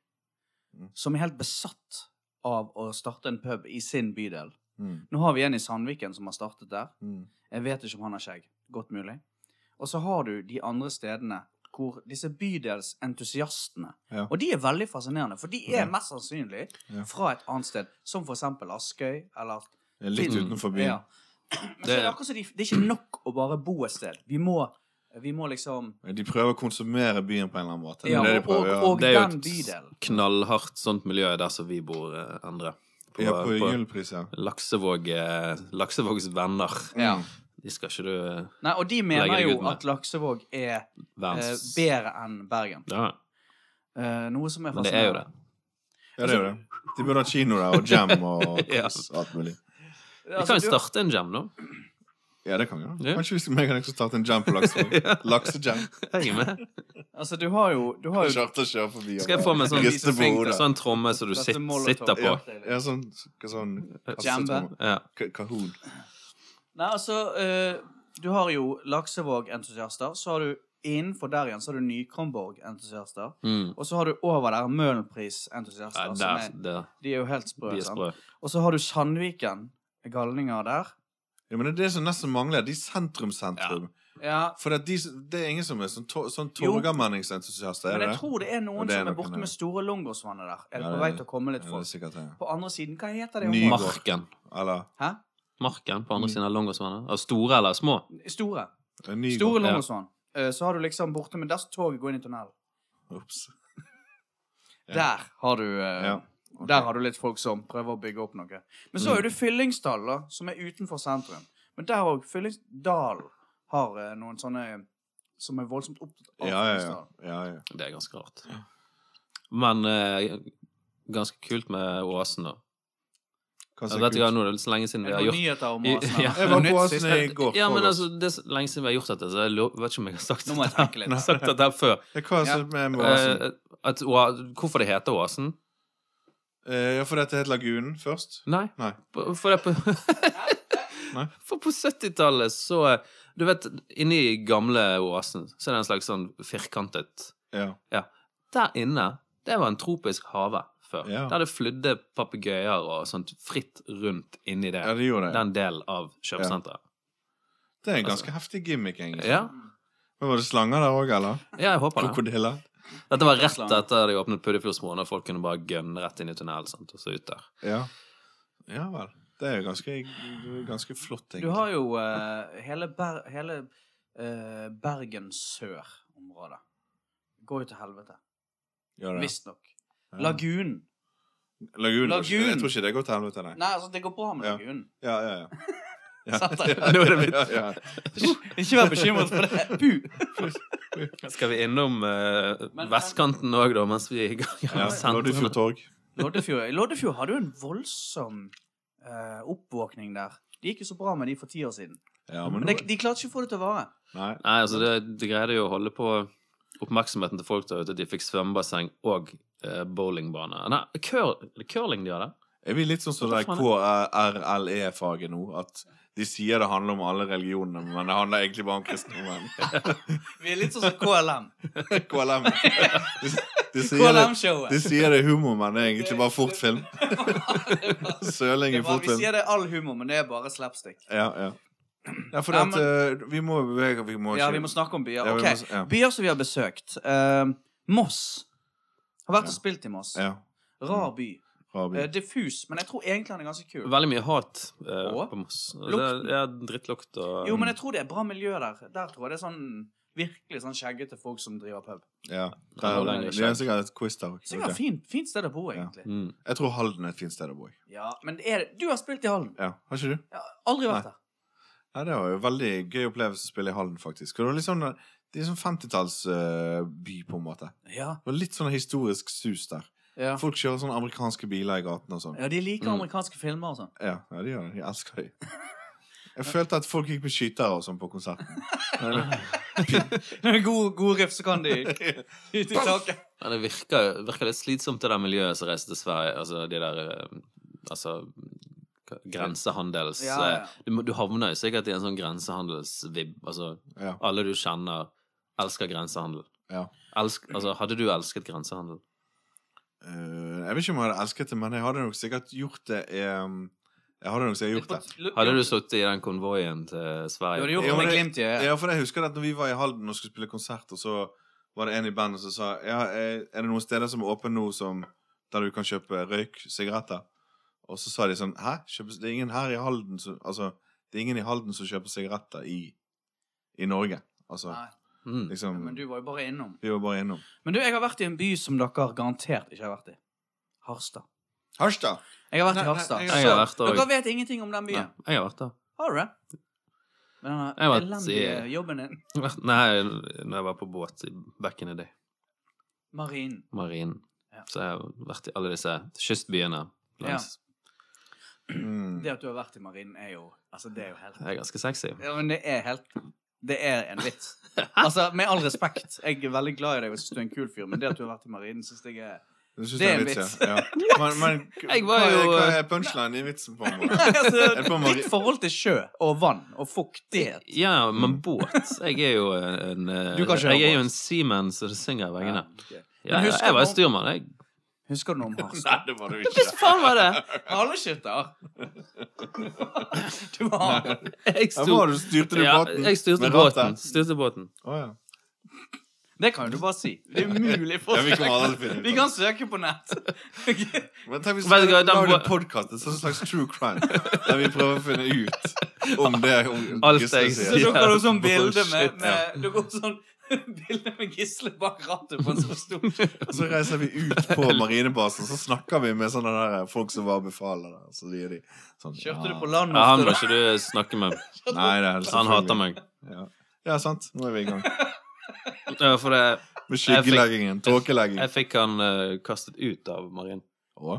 Mm. som er helt besatt av å starte en pub i sin bydel. Mm. Nå har vi en i Sandviken som har startet der. Mm. Jeg vet ikke om han har skjegg. Godt mulig. Og så har du de andre stedene hvor disse bydelsentusiastene Ja. Og de er veldig fascinerende, for de er Ja. mest sannsynlig Ja. fra et annet sted, som for eksempel Askøy eller Det er Litt Mm. utenfor ja. byen. Men så Det- er det, akkurat som de, det er ikke nok å bare bo et sted. Vi må, vi må liksom De prøver å konsumere byen på en eller annen måte. Det Ja, er det de prøver og- å og- gjøre. og- Det er jo den et Mm. bydelen. knallhardt sånt miljø der som vi bor, eh, Endre. På, ja, på på Gyldpris, ja. Mm. Laksevåg, eh, Laksevågs venner. Ja. De skal ikke du eh, Nei, og de mener Legger deg jo ut med. at Laksevåg er eh, verdens bedre enn Bergen. Ja, Eh, noe som er men det er jo det. fascinerende. Ja, det er jo det. De burde ha kino der, og jam og quiz og alt mulig. Vi Altså, kan jo du- starte en jam, nå. Ja, det kan vi gjøre. Ja. Kanskje vi skal, meg og deg skal starte en jam på Laksevåg. Laksejam. Jeg er med. Altså, du har jo, du har jo Kjørte og kjører forbi. og Skal jeg bare få meg sånn, rister på fingre, hodet. sånn tromme som du Dette sit, Molotov. sitter på? Ja, ja, sånn, sånn Jambe. kassetromme. Ja. Ka- Kahoon. Nei, altså eh, Du har jo Laksevåg-entusiaster. Så har du innenfor der igjen så har du Nykomborg-entusiaster. Mm. Og så har du over der Ja, Møhlenpris-entusiaster. som der, er- der. de er jo helt sprø. De er altså, sant? sprø. Og så har du Sandviken. Galninger der. Ja, men det er det som nesten mangler. De sentrum-sentrum. Ja, For at de, det er ingen som er sånn, to, sånn Jo. torgallmenningsentusiaster, er men det jeg det? tror det er noen Og det er som er noen, borte ja. med store longosvannet der. Ja, Er det på det- vei til å komme Ja, litt det er folk? sikkert det. På andre siden, hva heter det Ny- området? Marken. Eller Hæ? Marken på Mm. andre siden av Longåsvannet. Av Store eller små? Store. en ny Store Ja. longosvann. Eh, Så har du liksom borte med der som toget går inn i tunnelen. Ops. Ja. Der har du eh, Ja, ok. Mm. Der har du litt folk som prøver å bygge opp noe. Men så er det Fyllingsdal, da, som er utenfor sentrum. Men der òg. Fyllingsdal har eh, noen sånne som er voldsomt opptatt Ja, av ja, ja. Fyllingsdal. ja, ja. Det er ganske rart. Men eh, ganske kult med Oasen, da. Hva Ja, sier dette Knut? er nå det er så lenge siden vi Er har det noen gjort nyheter om I- Åsen? ja. Jeg var på Nytt Åsen sist? i går. Ja, men forgårs. altså, det er så lenge siden vi har gjort dette, så jeg lo- vet ikke om jeg har sagt Nå må jeg dette, tenke litt. sagt dette her før. Ja, Hva er det med med Åsen? Eh, at, Oa- hvorfor det heter Oasen? Eh, Ja, for dette het Lagunen først. Nei. Nei. På- For, det på, Nei. for på 70-tallet så Du vet, inni gamle oasen så er det en slags sånn firkantet Ja. Der inne, det var en tropisk hage før. Ja. Der det flydde papegøyer og sånt fritt rundt inni det. ja, det gjorde det. Den delen av kjøpesenteret. Det er en ganske heftig gimmick, Ja. egentlig. Ja. Men var det slanger der òg, eller? jeg håper det. Krokodiller? Dette var rett etter de åpnet Puddefjordsmoen, og folk kunne bare gønne rett inn i tunnelen sant, og så ut der. Ja. ja vel. Det er jo ganske, ganske flott, Du egentlig. har jo eh, hele, Ber hele eh, Bergen sør-området. Går jo til helvete. Ja, det er. Visstnok. Ja. Lagunen. Lagun. Lagun. Jeg tror ikke det går til helvete, nei. Nei, altså, det går bra med Ja. lagunen. Ja, ja, ja. Ja. Satt der. Ja, Nå er det blitt- ja, ja. Ikke vær bekymret for det. Pu! Skal vi innom eh, Men- vestkanten òg, da, mens vi er i gang? ja. med sentrum? Loddefjord Torg. Loddefjord, i Loddefjord hadde jo en voldsom eh, oppvåkning der. Det gikk jo så bra med de for ti år siden. Ja, men Men nå de, de klarte ikke å få det til å vare. Nei. Nei, altså det, det greide jo å holde på oppmerksomheten til folk der ute. De fikk svømmebasseng og eh, bowlingbane. Nei, cur curling de hadde. Er vi litt sånn som Hva det faen KRLE-faget nå? At de sier det handler om alle religionene, men det handler egentlig bare om kristendommen. Vi er litt sånn som KLM. KLM. De, de, sier det, de KLM-showet. sier det er humor, men det er egentlig bare fortfilm. Søling i Vi fortfilm. sier det er all humor, men det er bare slapstick. Ja, ja. ja for Ja, at, eh, vi må bevege Vi må Ja, ikke vi må snakke om byer. Ja, vi må Ok, s- ja. Byer som vi har besøkt. Eh, Moss. Har vært Ja. og spilt i Moss. Ja. Mm. Rar by. Rabi. Eh, diffus, men jeg tror egentlig han er ganske kul. Veldig mye hat eh, Og? på Moss. Det, Lukten. ja, drittlukt og Jo, men jeg tror det er bra miljø der. Der tror jeg det er sånn virkelig sånn skjeggete folk som driver pub. Ja. Ja, Der, det er det er sikkert et quiz der Så det er òg. et fint, fint sted å bo, Ja. egentlig. mm. Jeg tror Halden er et fint sted å bo. jeg. Ja, men er det, du har spilt i Hallen. Ja, Har ikke du? Jeg har aldri vært Nei. der. Ja, det var jo en veldig gøy opplevelse å spille i Halden, faktisk. Og Det var litt sånn, det er sånn 50-tallsby, på en måte. Ja, Det var Litt sånn historisk sus der. ja. Folk kjører sånne amerikanske biler i gaten og sånn. ja de liker Mm. amerikanske filmer og sånn. Ja, ja, de gjør det. De elsker det. Jeg følte at folk gikk med skytere og sånn på konserten. Med god, god riff så kan de ut i taket. Men det virker, virker litt slitsomt, det der miljøet som reiser til Sverige. Altså de der eh, Altså hva- grensehandels... Ja, ja. eh, Du, må- du havner jo sikkert i en sånn grensehandelsvib. Altså Ja, alle du kjenner, elsker grensehandel. ja. Elsk, altså, hadde du elsket grensehandel? Eh, jeg vet ikke om jeg hadde elsket det, men jeg hadde nok sikkert gjort det eh, Jeg hadde nok sikkert gjort det. Hadde du sittet i den konvoien til Du hadde gjort Sverige? Jo, det med men- glimt i øyet. Ja, for jeg husker at når vi var i Halden og skulle spille konsert, og så var det en i bandet som sa Ja, eh, er det noen steder som er åpne nå som der du kan kjøpe røyk, sigaretter? Og så sa de sånn Hæ? Kjøpes, det er ingen her i Halden som Altså, det er ingen i Halden som kjøper sigaretter i, i Norge. Altså, Nei, Mm. liksom men du var jo bare innom. Vi var bare innom. Men du, jeg har vært i en by som dere garantert ikke har vært i. Harstad. Harstad! Jeg har vært Nei, i Harstad. nei, jeg har vært Så, der dere vet ingenting om den Nei, byen. jeg har vært der. Har du det? Med den Jeg har vært elendige i- jobben din. Vært- Nei, når jeg var på båt i back in the day. Marinen. Marinen. Ja. Så jeg har vært i alle disse kystbyene langs. Mm. Det at du har vært i marinen, er jo Altså, det er jo helt Det er ganske sexy. Ja, men det er helt Det er en vits. Altså, med all respekt, jeg er veldig glad i deg og syns du er en kul fyr, men det at du har vært i marinen, syns jeg er Du syns det Det er er en en vits, ja? ja. Men, men Jeg var hva, er, jo- hva er punchline i vitsen på en måte? Er det på altså, mari- Ditt forhold til sjø og vann og fuktighet Ja, men båt Jeg er jo en, eh, Du kan kjøre jeg er jo båt. en seaman som synger i Ja, vengene. ok. Ja, Men jeg, husker jeg var du- styrmann, jeg. Husker du noe om Harstad? Nei, det var du ikke. Hva faen var det? Haleskytter! Du var Jeg Ja, sto- var du styrte du Ja, båten? jeg styrte med rattet? båten. Styrte båten. Å, ja. Det kan jo du bare si. Det er umulig for Ja, vi kommer aldri til å finne ut av Vi det. kan søke på nett. Men tenk hvis vi Vet du hva, den lager en bo- podkast, en sånn slags true crime, der vi prøver å finne ut om det om Alt Gisle jeg Så sier. sier. dukker det opp sånn bilde med, Bullshit, ja. med Dukker opp sånn bilde med Gisle bak rattet på en sånn stor Og Så reiser vi ut på marinebasen, så snakker vi med sånne der eh, folk som var befaler der. Så sier de sånn Kjørte ja. du på land Ja, han må ofte? ikke du snakke med. Nei, det er helt selvfølgelig. Han hater meg. Ja. ja, sant. Nå er vi i gang. Ja, For det, Med skyggeleggingen. Tåkelegging. jeg fikk han eh, kastet ut av marinen. Å.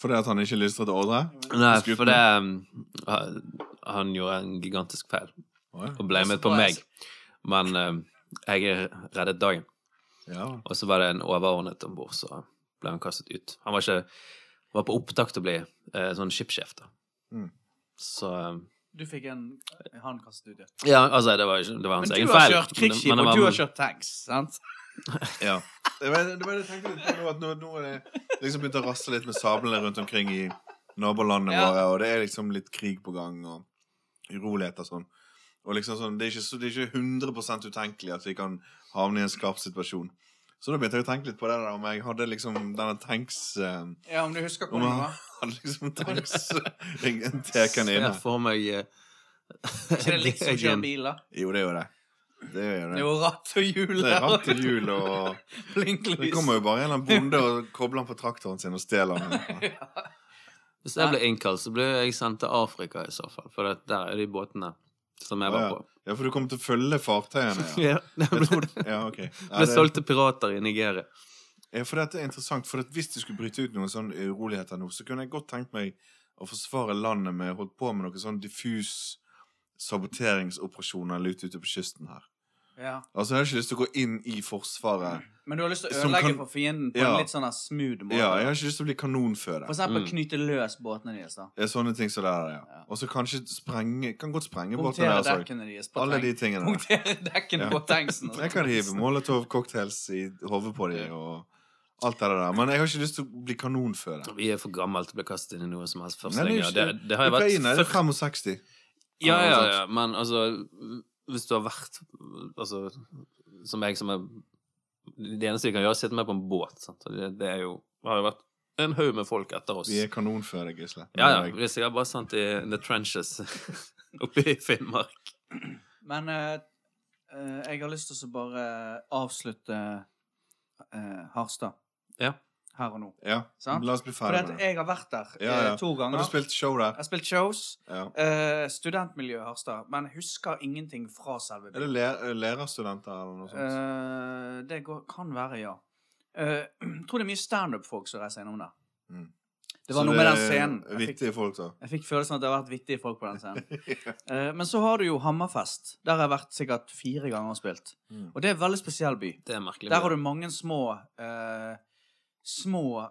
Fordi at han ikke lystret ordre? Nei, Skutt for det eh, Han gjorde en gigantisk feil Å, ja. og ble med på meg. Men eh, jeg reddet dagen. Ja. Og så var det en overordnet om bord, så ble han kastet ut. Han var ikke var på opptak til å bli eh, sånn skipssjef, da. Mm. Så Du fikk en han kastet ut, ja. eh, Ja, altså, det var, ikke, det var hans Men egen du har feil. kjørt men- krigsskip, men det og var- du har kjørt tanks, sant? ja. Det var det, var det jeg tenkte litt på nå, at nå, nå er det liksom begynt å rasle litt med sablene rundt omkring i nabolandene Ja. våre, og det er liksom litt krig på gang, og uroligheter og sånn. Og liksom sånn, det er ikke, så, det er ikke 100 utenkelig at vi kan havne i en skarp situasjon. Så da begynte jeg å tenke litt på det der, om jeg hadde liksom denne tanks... eh, Ja, om du husker om hvordan det jeg var. hadde liksom tanks... en teken inne. Ser for meg eh, Ikke det liksom å kjøre en- bil, da? Jo, det er jo det. Det er jo det. Jo, ratt og hjul Det er der. ratt til jul og... Det Blinklys. kommer jo bare en eller annen bonde og kobler han på traktoren sin og stjeler den. Hvis jeg ble innkalt, så ble jeg sendt til Afrika i så fall. For det, der er de båtene som jeg var Å, på. Ja, for du kommer til å følge fartøyene. Ja. Ja, det Jeg ble, trodde, ja, ok. Ja, ble det- solgt til pirater i Nigeria. Ja, for dette er interessant, for at hvis det skulle bryte ut noen sånne uroligheter nå, så kunne jeg godt tenkt meg å forsvare landet med å holde på med noen sånn diffus saboteringsoperasjoner litt ute på kysten her. Ja. Altså, jeg har ikke lyst til å gå inn i forsvaret. Men du har lyst til å Som ødelegge kan- for fienden på Ja. en litt sånn her smooth måte? Ja, jeg har ikke lyst til å bli For kanonføde. eksempel Mm. knyte løs båtene deres, da. Det er sånne ting som det er, ja. Ja. Og så kanskje sprenge, kan godt sprenge båtene der, Punktere sorry. dekkene deres på Alle de tank. tingene der. Punktere Ja. dekkene på tanksen. Jeg kan hive molotov-cocktails i hodet på dem og alt det der. Men jeg har ikke lyst til å bli kanonføde. Vi er for gammel til å bli kastet inn i noe som helst først Nei, det er lenger. Det, ikke- det har jo vært Ukraina er det før- 65. Ja, ja, sant. ja, men altså Hvis du har vært Altså, som jeg som er Det eneste vi kan gjøre, er å sitte med på en båt. Sant? Og Det, det er jo det Har jo vært en haug med folk etter oss. Vi er kanonføde, Gisle. Ja, ja. Vi er sikkert bare sendt i the trenches oppe i Finnmark. Men eh, eh, jeg har lyst til å bare avslutte eh, Harstad. Ja. Her og nå. Ja, Sant? La oss bli For ferdig med det. jeg har vært der Ja, eh, ja. to Har ganger. du spilt show Jeg der? har spilt shows. Ja. Uh, studentmiljø Harstad. Men husker ingenting fra selve Er det læ- eh, lærerstudenter eller noe sånt? Eh, det går, kan være, ja. Eh, jeg tror det er mye standup-folk som reiser innom der. Mm. Det var Så noe med den scenen. er Jeg fikk, Vittige folk, da. jeg fikk følelsen av at det har vært vittige folk på den scenen. Eh, men så har du jo Hammerfest. Der har jeg vært sikkert fire ganger og spilt. Mm. Og det er en veldig spesiell by. Det er merkelig. Der har du mange små eh, Små,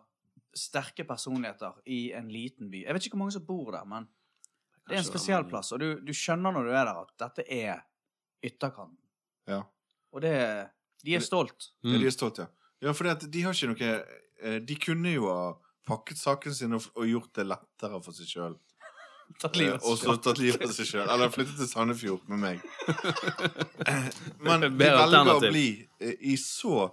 sterke personligheter i en liten by. Jeg vet ikke hvor mange som bor der, men det er en Kanskje spesiell mange. plass. Og du, du skjønner når du er der, at dette er ytterkanten. Ja. Og det De er stolt. Ja, Mm. de er stolt, ja. Ja, for de har ikke noe eh, De kunne jo ha pakket saken sin og, og gjort det lettere for seg sjøl. Tatt Eh, livet Og så tatt livet av seg sjøl. Eller flyttet til Sandefjord med meg. Eh, Men de Bedre velger å alternativ. bli eh, i så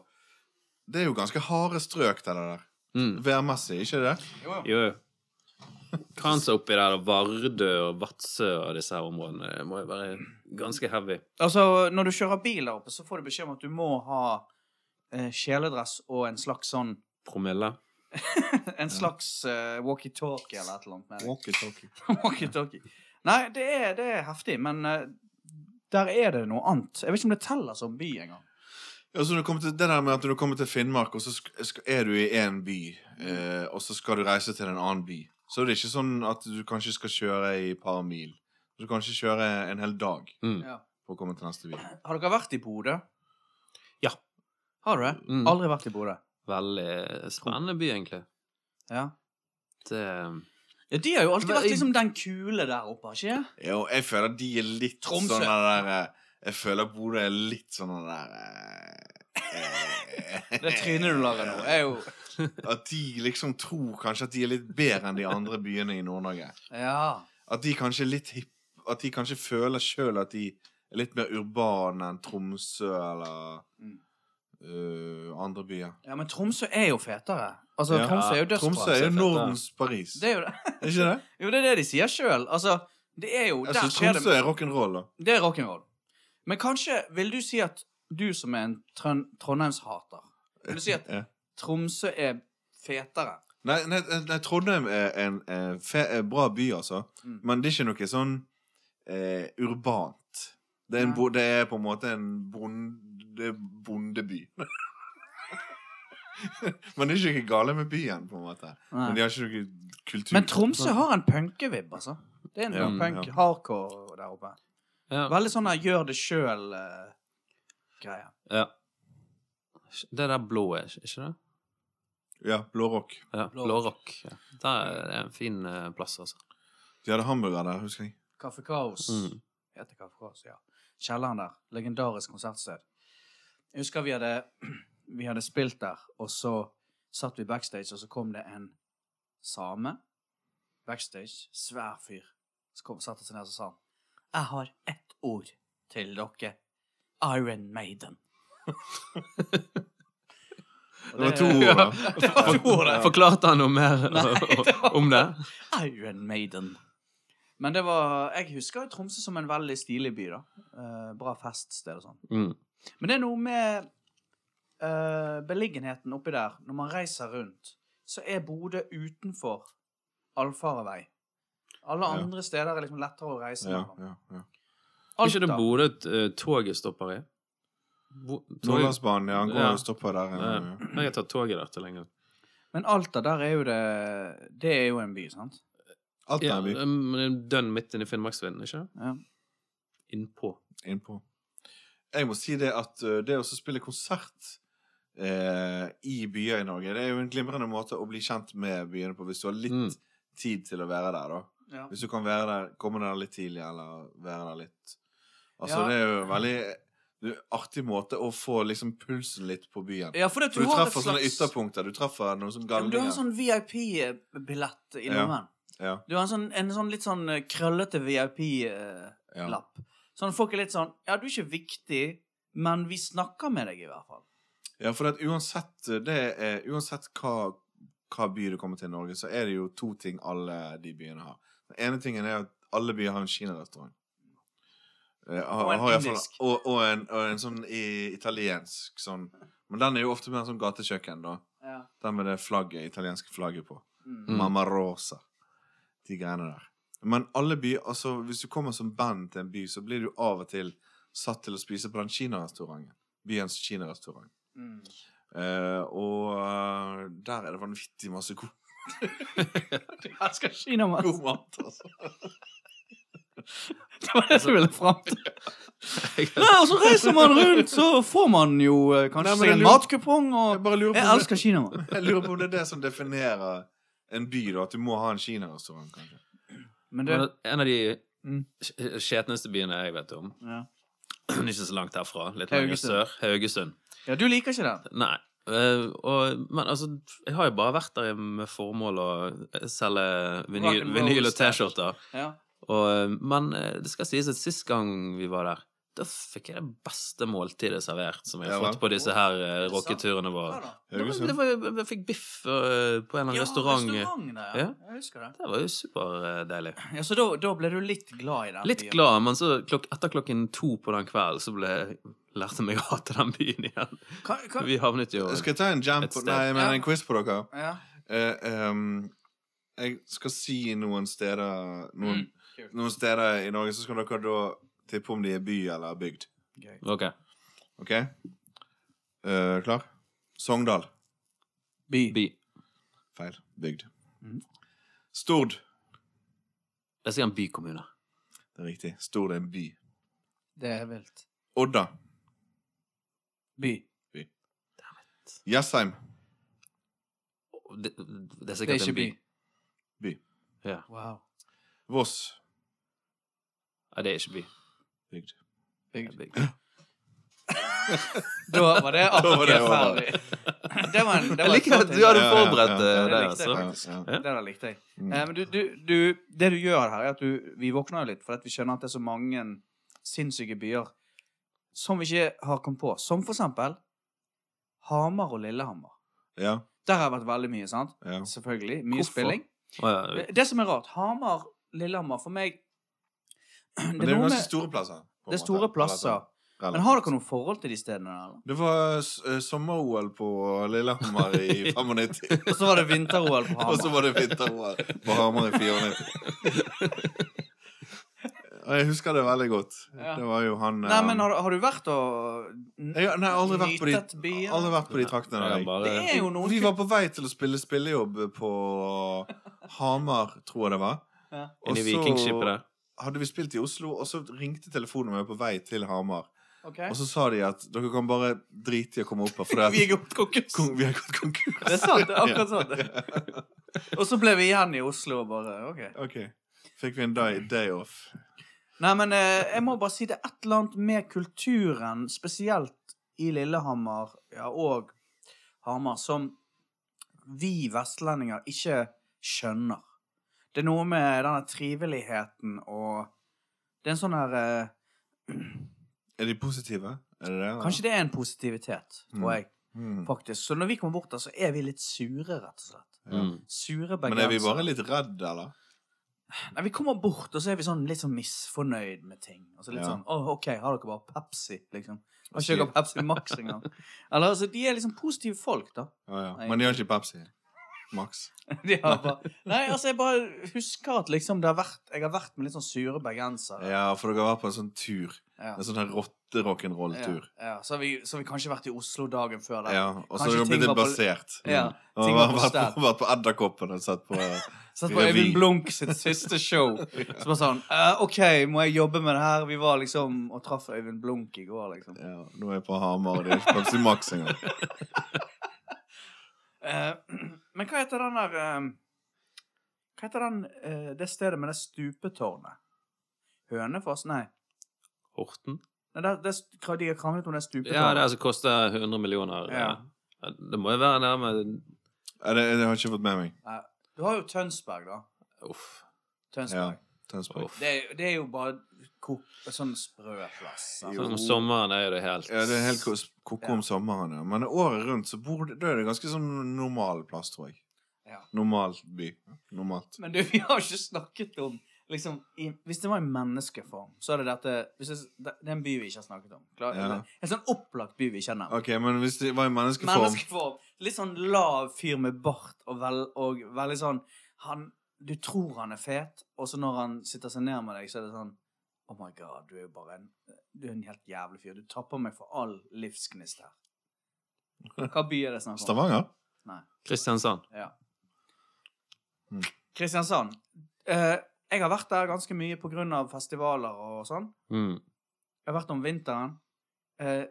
Det er jo ganske harde strøk, det der. Mm. Værmessig, ikke det? Jo, jo. Kransa oppi der, og Vardø og Vadsø og disse her områdene det må jo være ganske heavy. Altså, når du kjører bil der oppe, så får du beskjed om at du må ha eh, kjeledress og en slags sånn Promille. En slags eh, walkietalkie eller et eller annet. mener jeg. Walkie-talkie. Walkie-talkie. Nei, det er, det er heftig, men eh, der er det noe annet. Jeg vet ikke om det teller som by engang. Ja, så når du kommer til, det der med at når du kommer til Finnmark, og så sk- sk- er du i én by, eh, og så skal du reise til en annen by, så er det ikke sånn at du kanskje skal kjøre i et par mil. Du kan kanskje kjøre en hel dag Mm. Ja. for å komme til neste by. Har dere vært i Bodø? Ja. Har du det? Mm. Aldri vært i Bodø. Veldig spennende by, egentlig. Ja. Det, ja, de har jo alltid Men i- vært liksom den kule der oppe, har ikke det? Jo, jeg føler de er litt Tromsø. sånn den der eh, Jeg føler Bodø er litt sånn den der eh, Det trynet du lager nå, er jo At de liksom tror kanskje at de er litt bedre enn de andre byene i Nord-Norge. Ja. At de kanskje er litt hipp At de kanskje føler sjøl at de er litt mer urbane enn Tromsø eller Mm. eh, andre byer. ja men Tromsø er jo fetere. Altså, Ja. Tromsø er jo dødsbra. Tromsø er jo fett, da. Nordens Paris. Det er jo det. Er ikke det? Jo, det er det de sier sjøl. Altså, det er jo Jeg Der synes skjer det Tromsø er rock'n'roll, da. Det er rock'n'roll. Men kanskje vil du si at du som er en trøn Trondheimshater Vil du si at Ja. Tromsø er fetere? Nei, nei, eh, nei Trondheim er en, eh, fe, eh, bra by, altså. Mm. Men det er ikke noe sånn eh, urbant. Det er, en Nei. bo, det er på en måte en bonde, bondeby. Men det er ikke noe gale med byen, på en måte. Men de Nei. har ikke noe kultur. Men Tromsø har en punkevibb, altså. Det er en Ja, punk ja. hardcore der oppe. ja. Veldig sånn der gjør det eh, sjøl-greie. ja. Det der blå er ikke- ikke det? Ja, blårock. Ja, Blå Blårock. Ja. Der er det en fin eh, plass, altså. De hadde hamburger der, husker jeg. Kaffe Kaos. Mm. Heter Kaffe Kaos, ja. Kjelleren der. Legendarisk konsertsted. Jeg husker vi hadde, vi hadde spilt der, og så satt vi backstage, og så kom det en same backstage. Svær fyr. Så kom, satte seg ned og så sa han Jeg har ett ord til dere. Iron Maiden. Og Det var to ord, da. Det var to ord, det. Forklarte han noe mer Nei, det var- om det? Iron Maiden. Men det var Jeg husker Tromsø som en veldig stilig by, da. Eh, bra feststed og sånn. Mm. Men det er noe med eh, beliggenheten oppi der. Når man reiser rundt, så er Bodø utenfor allfarevei. Alle Ja. andre steder er liksom lettere å reise. Ja, mellom. ja, ja. Er ikke det Alta. Bodø eh, toget stopper i? Bo- Toget Nordlandsbanen, ja. Han går Ja. og stopper der. Ja, Ja, ja. Jeg har tatt toget der til lenge. Men Alta, der er jo det Det er jo en by, sant? Alt Ja, er vi men det er Dønn midt inne i Finnmarksvidda, ikke sant? Ja. Innpå. innpå. Jeg må si det at eh, det å så spille konsert eh, i byer i Norge, det er jo en glimrende måte å bli kjent med byene på, hvis du har litt Mm. tid til å være der, da. Ja. Hvis du kan være der, komme der litt tidlig, eller være der litt Altså, Ja. det er jo en veldig det er en artig måte å få liksom pulsen litt på byen. ja, for det, For du har et treffer sånne slags- ytterpunkter. Du treffer noen sånne Ja, men Du har galninger. en sånn VIP-billett i Ja. lommen. Ja, Du har en sånn, en sånn litt sånn eh, krøllete VIP-lapp. ja. Sånn folk er litt sånn Ja, du er ikke viktig, men vi snakker med deg, i hvert fall. ja for at uansett, eh, det er, uansett hva, hva by du kommer til i Norge, så er det jo to ting alle de byene har. Den ene tingen er at alle byer har en kinarestaurant. Eh, har- Og en har i hvert fall- indisk. Og, og, en, og en sånn i, italiensk sånn. Men den er jo ofte mer sånn gatekjøkken, da. Ja. Den med det flagget, italienske flagget på. Mm. Mm. Mamma Rosa. De greiene der. Men alle by, altså hvis du kommer som band til en by, så blir du av og til satt til å spise på den kinarestauranten. Byens kinarestaurant. Mm. Eh, og eh, der er det vanvittig masse god, Jeg elsker kinamat. god mat, altså. Det var det som ville fram til. Nei, og så reiser man rundt, så får man jo eh, kanskje Nei, men seg en jeg lurer- matkupong, Jeg og bare lurer på, Jeg om det, elsker kinamat. jeg lurer på om det er det som definerer en by, da. At du må ha en kinarestaurant, kanskje. Men det Men En av de Mm. skj- skjetneste byene jeg vet om. ja. Ikke så langt herfra. Litt lenger Haugesund. sør. Haugesund. ja, du liker ikke det? Nei. Eh, og, men altså, jeg har jo bare vært der med formål å eh, selge vinyl, Rock'n'roll vinyl og stash. T-skjorter. Ja. Og, eh, Men eh, det skal sies at sist gang vi var der, da fikk jeg det beste måltidet servert som jeg har Ja, vel. fått på disse her eh, Er det sant? rocketurene Ja våre. da. Det var, det var, jo- jeg fikk biff eh, på en eller annen Ja, restaurant. restaurant der, ja. Ja. Jeg husker det. Det var jo superdeilig. Ja, Så da, da ble du litt glad i den? Litt byen? glad, men så klok etter klokken to på den kvelden så ble lærte jeg meg å hate den byen igjen. Hva, hva? Vi havnet jo Skal jeg ta en jam Et på sted. Nei, men Ja. en quiz på dere? Ja. Eh, ehm, jeg skal si noen steder noen, Mm, kult. noen steder i Norge, så skal dere da tippe om de er by eller bygd. Gøy. Ok. OK? Eh, klar? Sogndal. By. By. Feil. Bygd. Mhm. Stord. Jeg sier en bykommune. Det er riktig. Stord er en by. Det er vilt. Odda. By. Jessheim. Det, det er Det er sikkert ikke en by. by. By. Ja. Wow. Voss. Nei, det er ikke by. Bygd. Det Bygd. er bygd. Da var det Da var det akkurat over. ferdig. Det var en det Jeg var et liker at flott du hadde Ja, ja, forberedt ja. eh, Ja, det det. likte jeg altså. Ja, ja. Det der likte jeg. Mm. Eh, men du, du, du, det du gjør her, er at du, vi våkner jo litt, for at vi skjønner at det er så mange sinnssyke byer som vi ikke har kommet på. Som for eksempel Hamar og Lillehammer. ja, Der har det vært veldig mye, sant? ja. Selvfølgelig. Mye Hvorfor? spilling. Å, ja, Det, det som er rart, Hamar, Lillehammer, for meg Men det er jo ganske store plasser. på en det er måte. store Eller plasser. sånn, Men har dere noe forhold til de stedene der? eller? Det var s- eh, sommer-OL på Lillehammer i 95. Og så var det vinter-OL på og så Hamar. var det vinter-OL på Hamar i 94. Og jeg husker det veldig godt. Ja. Det var jo han Nei, eh, men har, har du vært og jeg, nei, jeg har aldri vært på nytet de, byen? aldri vært på de traktene. Jeg der har jeg. bare, Det er jo noen Vi var på vei til å spille spillejobb på Hamar, tror jeg det var. Ja. Og Inni vikingskipet så der. hadde vi spilt i Oslo, og så ringte telefonen meg på vei til Hamar. Ok. Og så sa de at dere kan bare drite i å komme opp her, for Vi det er gått konkurs. at vi har gått konkurs. Det er sant. det er akkurat sånn. Og så ble vi igjen i Oslo og bare OK. Ok. Fikk vi en day, day off. Nei, men eh, jeg må bare si det er et eller annet med kulturen, spesielt i Lillehammer ja, og Hamar, som vi vestlendinger ikke skjønner. Det er noe med denne triveligheten og Det er en sånn her eh, Er de positive? Er det det? eller? Kanskje det er en positivitet, tror jeg, Mm. faktisk. Så når vi kommer bort der, så er vi litt sure, rett og slett. Ja. Mm. Sure Men er vi bergensere. bare litt redde, eller? Nei, Vi kommer bort, og så er vi sånn litt sånn misfornøyd med ting. Og så litt Ja. sånn Å, OK, har dere bare Pepsi, liksom? Har ikke dere Pepsi Max engang? Eller altså, de er liksom positive folk, da. Ja, ja. Nei. Men de har ikke Pepsi. Max. De har bare Nei, altså, jeg bare husker at liksom det har vært Jeg har vært med litt sånn sure bergensere. Ja, for dere var på en sånn tur. Ja. En sånn her rotte-rock'n'roll-tur. Ja, ja. Så, har vi, så har vi kanskje vært i Oslo dagen før sånn der. Ja, og så Kanskje har dere blitt ting var litt på- basert. Ja, Mm. ting Og var vært på vært stell. på, vært på Edderkoppen og sett på Satt på Revy. Øyvind Blunk sitt siste show. Så bare sånn «Eh, OK, må jeg jobbe med det her? Vi var liksom og traff Øyvind Blunk i går, liksom. ja, Nå er jeg på Hamar, og det er ikke Pepsi Max engang. Eh, men hva heter den der eh, Hva heter den, eh, det stedet med det stupetårnet? Hønefoss? Nei. Horten? Nei det, det, hva de har kranglet om det Ja, det stupetårnet. er altså koster 100 millioner. Ja. eh, Det må jo være nærme Ja, det, det har jeg ikke fått med meg. Eh, Du har jo Tønsberg, da. Uff. Ja, Tønsberg. Tønsberg. Uff. Det, er- det er jo bare ko- sånn sprø plass. sant? Jo. Sånn, om sommeren er jo det helt Ja, det er helt kos- koko om sommeren, ja. Men året rundt så bor det, da er det ganske sånn normal plass, tror jeg. Ja. Normal by. Normalt. Men du, vi har jo ikke snakket om liksom, i, Hvis det var i menneskeform, så er det dette hvis det, det er en by vi ikke har snakket om. Klar, Ja. En sånn opplagt by vi ikke har nevnt. Ok, men hvis det var i menneskeform Menneskeform. Litt sånn lav fyr med bart og, vel, og veldig sånn han, Du tror han er fet, og så når han sitter seg ned med deg, så er det sånn Oh my god, du er jo bare en Du er en helt jævlig fyr. Du tapper meg for all livsgnist her. Hva by er det snakk om? Stavanger? Kristiansand. Ja. Mm. Kristiansand. Eh, jeg har vært der ganske mye på grunn av festivaler og sånn. Mm. Jeg har vært om vinteren. Eh,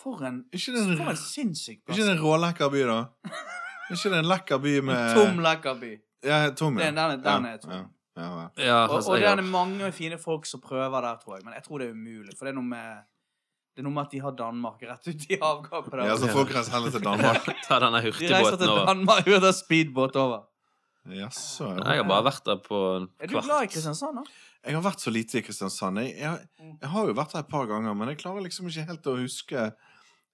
for en Ikke det en, For en sinnssyk ikke det en rålekker by, da? Ikke det en lekker by med Tom Lekkerby. Ja, tom, ja. Den- den er- den er tom. Ja, ja, ja. Ja, Og, altså, og det jeg- er mange fine folk som prøver der, tror jeg. Men jeg tror det er umulig. For det er noe med Det er noe med at de har Danmark rett ut i havgapet. der. Ja, altså, så folk reiser heller til Danmark. Ta denne de reiser hurtigbåten til over. Danmark ut av speedbåt over. Jaså. ja. Jeg har bare vært der på en Er du glad i kvart. Kristiansand, da? Jeg har vært så lite i Kristiansand. Jeg, jeg, Mm. jeg har jo vært der et par ganger, men jeg klarer liksom ikke helt å huske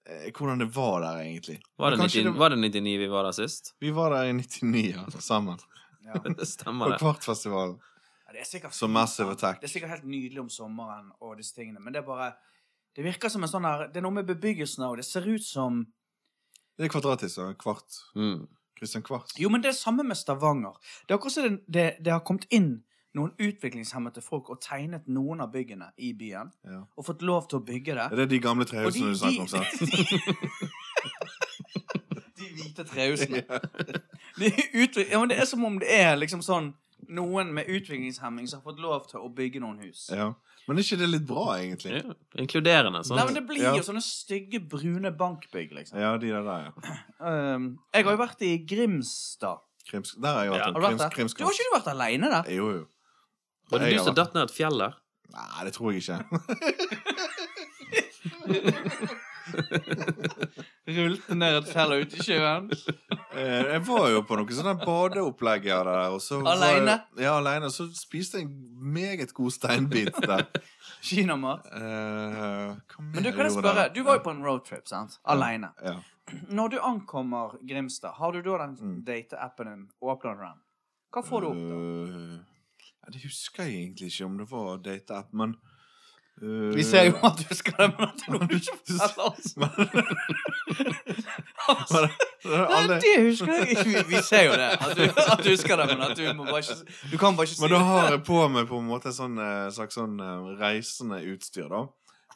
eh, hvordan det var der, egentlig. Var det, Men kanskje 99, det- var det 99 vi var der sist? Vi var der i 99 ja, sammen, Ja. Det på stemmer, det. Kvartfestivalen. Det er sikkert Så Massive Attack. Det er sikkert helt nydelig om sommeren og disse tingene, men det er bare Det virker som en sånn her Det er noe med bebyggelsen òg. Det ser ut som Det er kvadratisk. ja, Kvart. Mm. Kristian Kvart. Jo, men det er samme med Stavanger. Det er akkurat som det, det, det har kommet inn noen utviklingshemmede folk og tegnet noen av byggene i byen, Ja. og fått lov til å bygge det. Er det de gamle Og de- trehusene Eh, du snakker om? sant? De hvite trehusene. Det er, utvi- ja, men det er som om det er liksom sånn noen med utviklingshemming som har fått lov til å bygge noen hus. Ja. Men er ikke det litt bra, egentlig? Ja, inkluderende. Nei, Sånn. men Det blir Ja. jo sånne stygge, brune bankbygg, liksom. Ja, de der, der ja. Um, jeg har jo vært i Grimstad. Krims, der har jeg vært. Ja. Ja. Har du vært der? Krims, Du har ikke du vært aleine der? Jo, jo. Var det Jeg du har som vært- datt ned et fjell der? Nei, det tror jeg ikke. Rullte ned et fjell og ut i sjøen? Eh, Jeg var jo på noe sånn der badeopplegg jeg hadde der. og så var Alene? Jeg, ja, alene. Og så spiste jeg en meget god steinbit der. Kinamat? Eh, hva mer Men du kan jeg gjorde spørre, der? du var jo på en roadtrip, sant? Aleine. ja. Når du ankommer Grimstad, har du da den Mm. date-appen din åpnet den? Hva får du opp da? Eh, ja, det husker jeg egentlig ikke om det var dateapp, men eh, Vi ser jo at du skal det, men at det er noe du ikke forteller oss. Altså, alle, Nei, det husker jeg ikke. Vi, vi ser jo det. At du, at du husker det, men at du må bare ikke Du kan bare ikke si Men da har jeg på meg på en måte sånn, eh, slags sånn eh, reisende utstyr, da.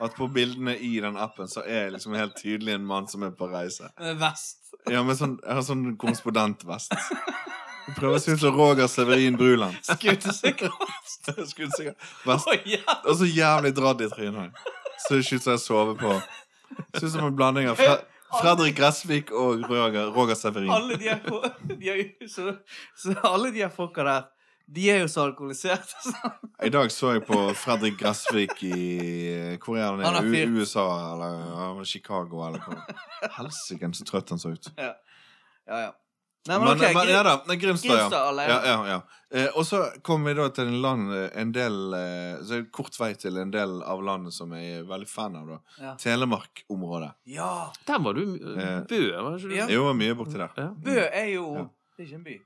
At på bildene i den appen så er jeg liksom helt tydelig en mann som er på reise. det. Vest. Ja, med sånn, Jeg har sånn korrespondentvest. Jeg Prøver å se ut som Roger Severin Bruland. Skutesikkerhet. Skuddsikker. Å Vest. ja! Og så jævlig dradd i trynet. Så det ser ut som jeg sover på. Ser ut som en blanding av Fre Fredrik Gressvik og Roger, Roger Severin. Alle de her, ko- de er jo- så, så alle de her folka der, de er jo så altså. alkoholiserte. så- I dag så jeg på Fredrik Gressvik i eh, Hvor er han? Han er er fyrt. U- USA eller ja, Chicago eller hvor? Helsike, så trøtt han så ut. Ja, ja. ja. Nei, Men, men, ok, men ja da, nei, Grimstad, ja. Grimstad alene. ja, ja, ja. Eh, og så kom vi da til en land eh, en del eh, Så er det kort vei til en del av landet som jeg er veldig fan av, da. Ja. Telemark-området. Ja. Der var du eh, Eh, Bø, var ikke du? Ja. Det var mye borti der. Ja. Bø er jo Ja. Det er ikke en by.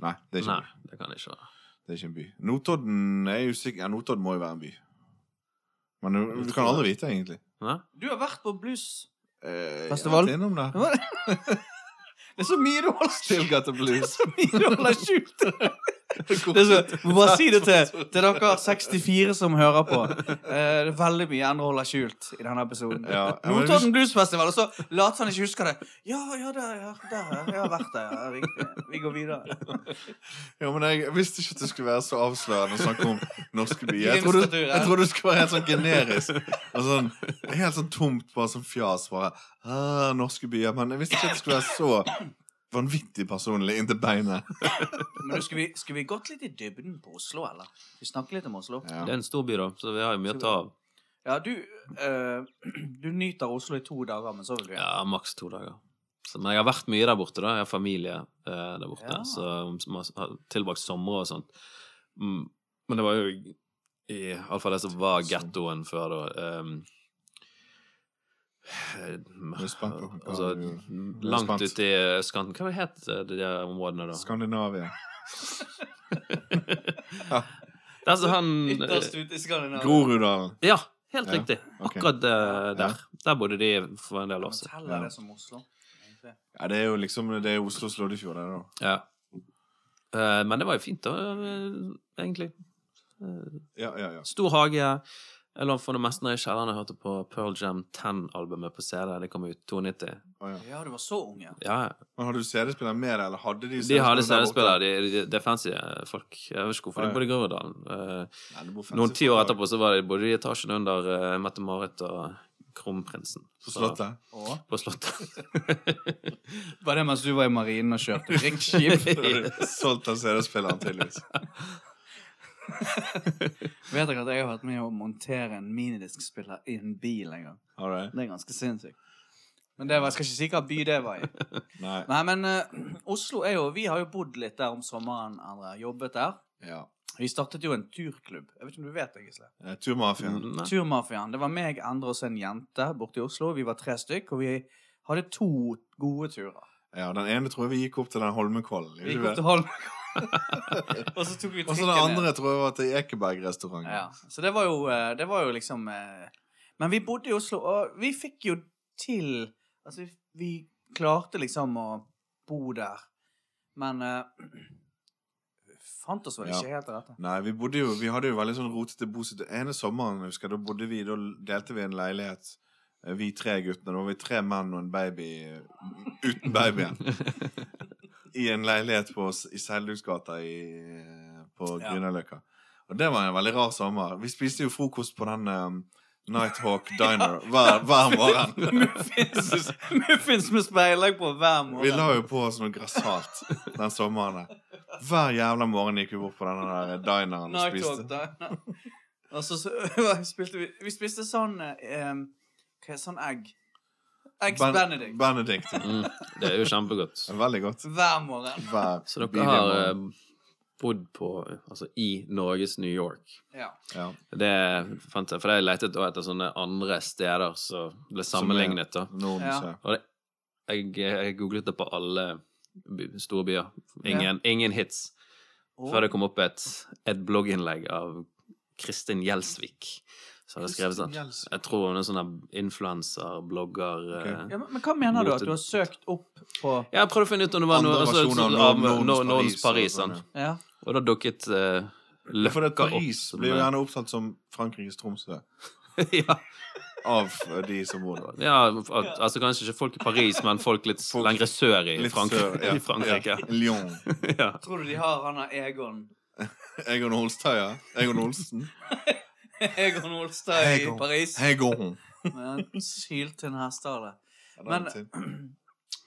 Nei, det er ikke, Nei, en by. det kan jeg ikke være. det er ikke en by. Notodden er usikker. Ja, Notodden må jo være en by. Men du, du kan aldri vite, egentlig. Nei? Du har vært på blues. Eh, Festival? Jeg har vært innom der. Det er så mye du holder Still got the blues. Så mye du holder skjult. Det er så, må bare si det til, til dere 64 som hører på. Eh, det er veldig mye Endre holder skjult i denne episoden. Ja, ja, men Notodden Bluesfestival, og så later han ikke husker det. Ja, ja, der, ja, der ja, jeg har vært der. Ja, riktig. Vi går videre. Ja, men jeg visste ikke at det skulle være så avslørende å snakke om norske byer. Jeg trodde, Grimstad-tur, ja. jeg trodde det skulle være helt sånn generisk. Og sånn, helt sånn tomt, bare sånn fjas. Bare, ah, norske byer. Men jeg visste ikke at det skulle være så vanvittig personlig inntil beinet. Men du, skulle vi, skulle vi gått litt i dybden på Oslo, eller? Vi snakker litt om Oslo. Ja. Det er en stor by, da, så vi har jo mye å ta av. Ja, du, eh, du nyter Oslo i to dager, men så vil du igjen. Ja, maks to dager. Så, men jeg har vært mye der borte, da. Jeg har familie eh, der borte. Ja. Så som har- har tilbrakt somre og sånt. Mm, men det var jo i alle fall det som var Sånn. gettoen før, da. Um, er spent på hva altså, du- er langt spent. ut i østkanten. Hva het eh, de der områdene, da? Skandinavia. Der som Altså, han Ytterst ute i Skandinavia. Groruddalen. Ja, helt Ja, riktig. ok. Akkurat eh, Ja. der. Der bodde de for en del år Men siden. Teller Ja. det som Oslo? egentlig? Ja, det er jo liksom det er Oslos Loddefjord, det, da. Ja. Eh, men det var jo fint, da, eh, egentlig. Ja, ja, ja. Stor hage. Jeg lå for det meste nede i kjelleren og hørte på Pearl Jam 10-albumet på CD. Det kom ut 92. Å, ja. Ja, du var så ung, ja. Ja, ja. Men Har du CD-spiller med deg, eller hadde de de hadde der borte? CD-spillere. De, de, det er fancy eh, folk. Jeg vet ikke Ja, hvorfor. De ja. bodde i Groruddalen. Eh, Nei, det bor fancy Noen ti år folk der. etterpå så var de både i etasjen under eh, Mette-Marit og Kronprinsen. På Slottet? Å. På slottet. Var det mens du var i marinen og kjørte riksskip? liksom. Solgt av CD-spilleren, tydeligvis. Vet dere at jeg har vært med å montere en minidiskspiller i en bil en gang? All right. Det er ganske sinnssykt. Men det var, jeg skal ikke si hvilken by det var i. Nei. Nei, men eh, Oslo er jo Vi har jo bodd litt der om sommeren, Endre. Jobbet der. Ja. Vi startet jo en turklubb. Jeg vet ikke om du vet det, Gisle? Eh, Mm. Turmafiaen. Mm, Nei. Turmafiaen. Det var meg, Endre og så en jente borte i Oslo. Vi var tre stykk, og vi hadde to gode turer. Ja, den ene tror jeg vi gikk opp til den Holmenkollen. Vi gikk gjorde opp vi det? til Holmenkollen, og så tok vi Og så den trikken ned. andre tror jeg var til Ekeberg-restauranten. Ja, så det var jo, eh, det var jo liksom eh, Men vi bodde i Oslo, og vi fikk jo til Altså, vi, vi klarte liksom å bo der, men eh, Fant oss vel Ja. ikke helt til rette. Nei, vi bodde jo, vi hadde jo veldig sånn rotete bosted. Ene sommeren, jeg husker, da bodde vi, da delte vi en leilighet, eh, vi tre guttene. Da var vi tre menn og en baby, eh, uten babyen. I en leilighet på, s- i Seilduksgata i, eh, på Ja. Grünerløkka. Og det var en veldig rar sommer. Vi spiste jo frokost på den eh, Nighthawk Diner hver, hver morgen. Muffins, muffins med speilegg på hver Vi morgen. la jo på oss noe grassat den sommeren. der. Hver jævla morgen gikk vi bort på den der dineren og Night spiste. Talk, da. Og så, så spilte vi Vi spiste sånn eh, Hva er sånn egg? Eggs Ben- Benedict. Benedict. Mm, det er jo kjempegodt. Veldig godt. hver morgen. Hver Så dere bidige har morgen. eh, bodd på Altså i Norges New York. Ja. Ja. Det fant jeg, for jeg lette da etter sånne andre steder som ble sammenlignet, da. Nordens, Ja. ja. Og det, jeg, jeg googlet det på alle by- store byer. Ingen, ingen hits. Og- Før det kom opp et, et blogginnlegg av Kristin Gjelsvik. Så hadde jeg skrevet sånn. Gjelsvik. Jeg tror hun er sånn her influenser, blogger eh. ja, men, men hva mener du at du har søkt opp på Ja, Jeg prøvde å finne ut om det var noe Andre altså, versjoner av sånn- av Nordens Nor- Paris Nordens og Paris. sånn, Sånn. Ja. Og da dukket uh, For Løkka at Paris opp. som blir jo en- gjerne opptatt som Frankrikes Tromsø ja, av eh, de som bor der. ja, at, altså Kanskje ikke folk i Paris, men folk litt Folk- lengre sør i, Litt Frank sør, ja. i Frankrike. Ja. Lyon. Ja. Tror du de har han av Egon? Egon Holstad, ja. Egon Olsen. Egon Olstad i Egon. Paris? Egon. Med en syltynn hestehale. Ja, Men- den til.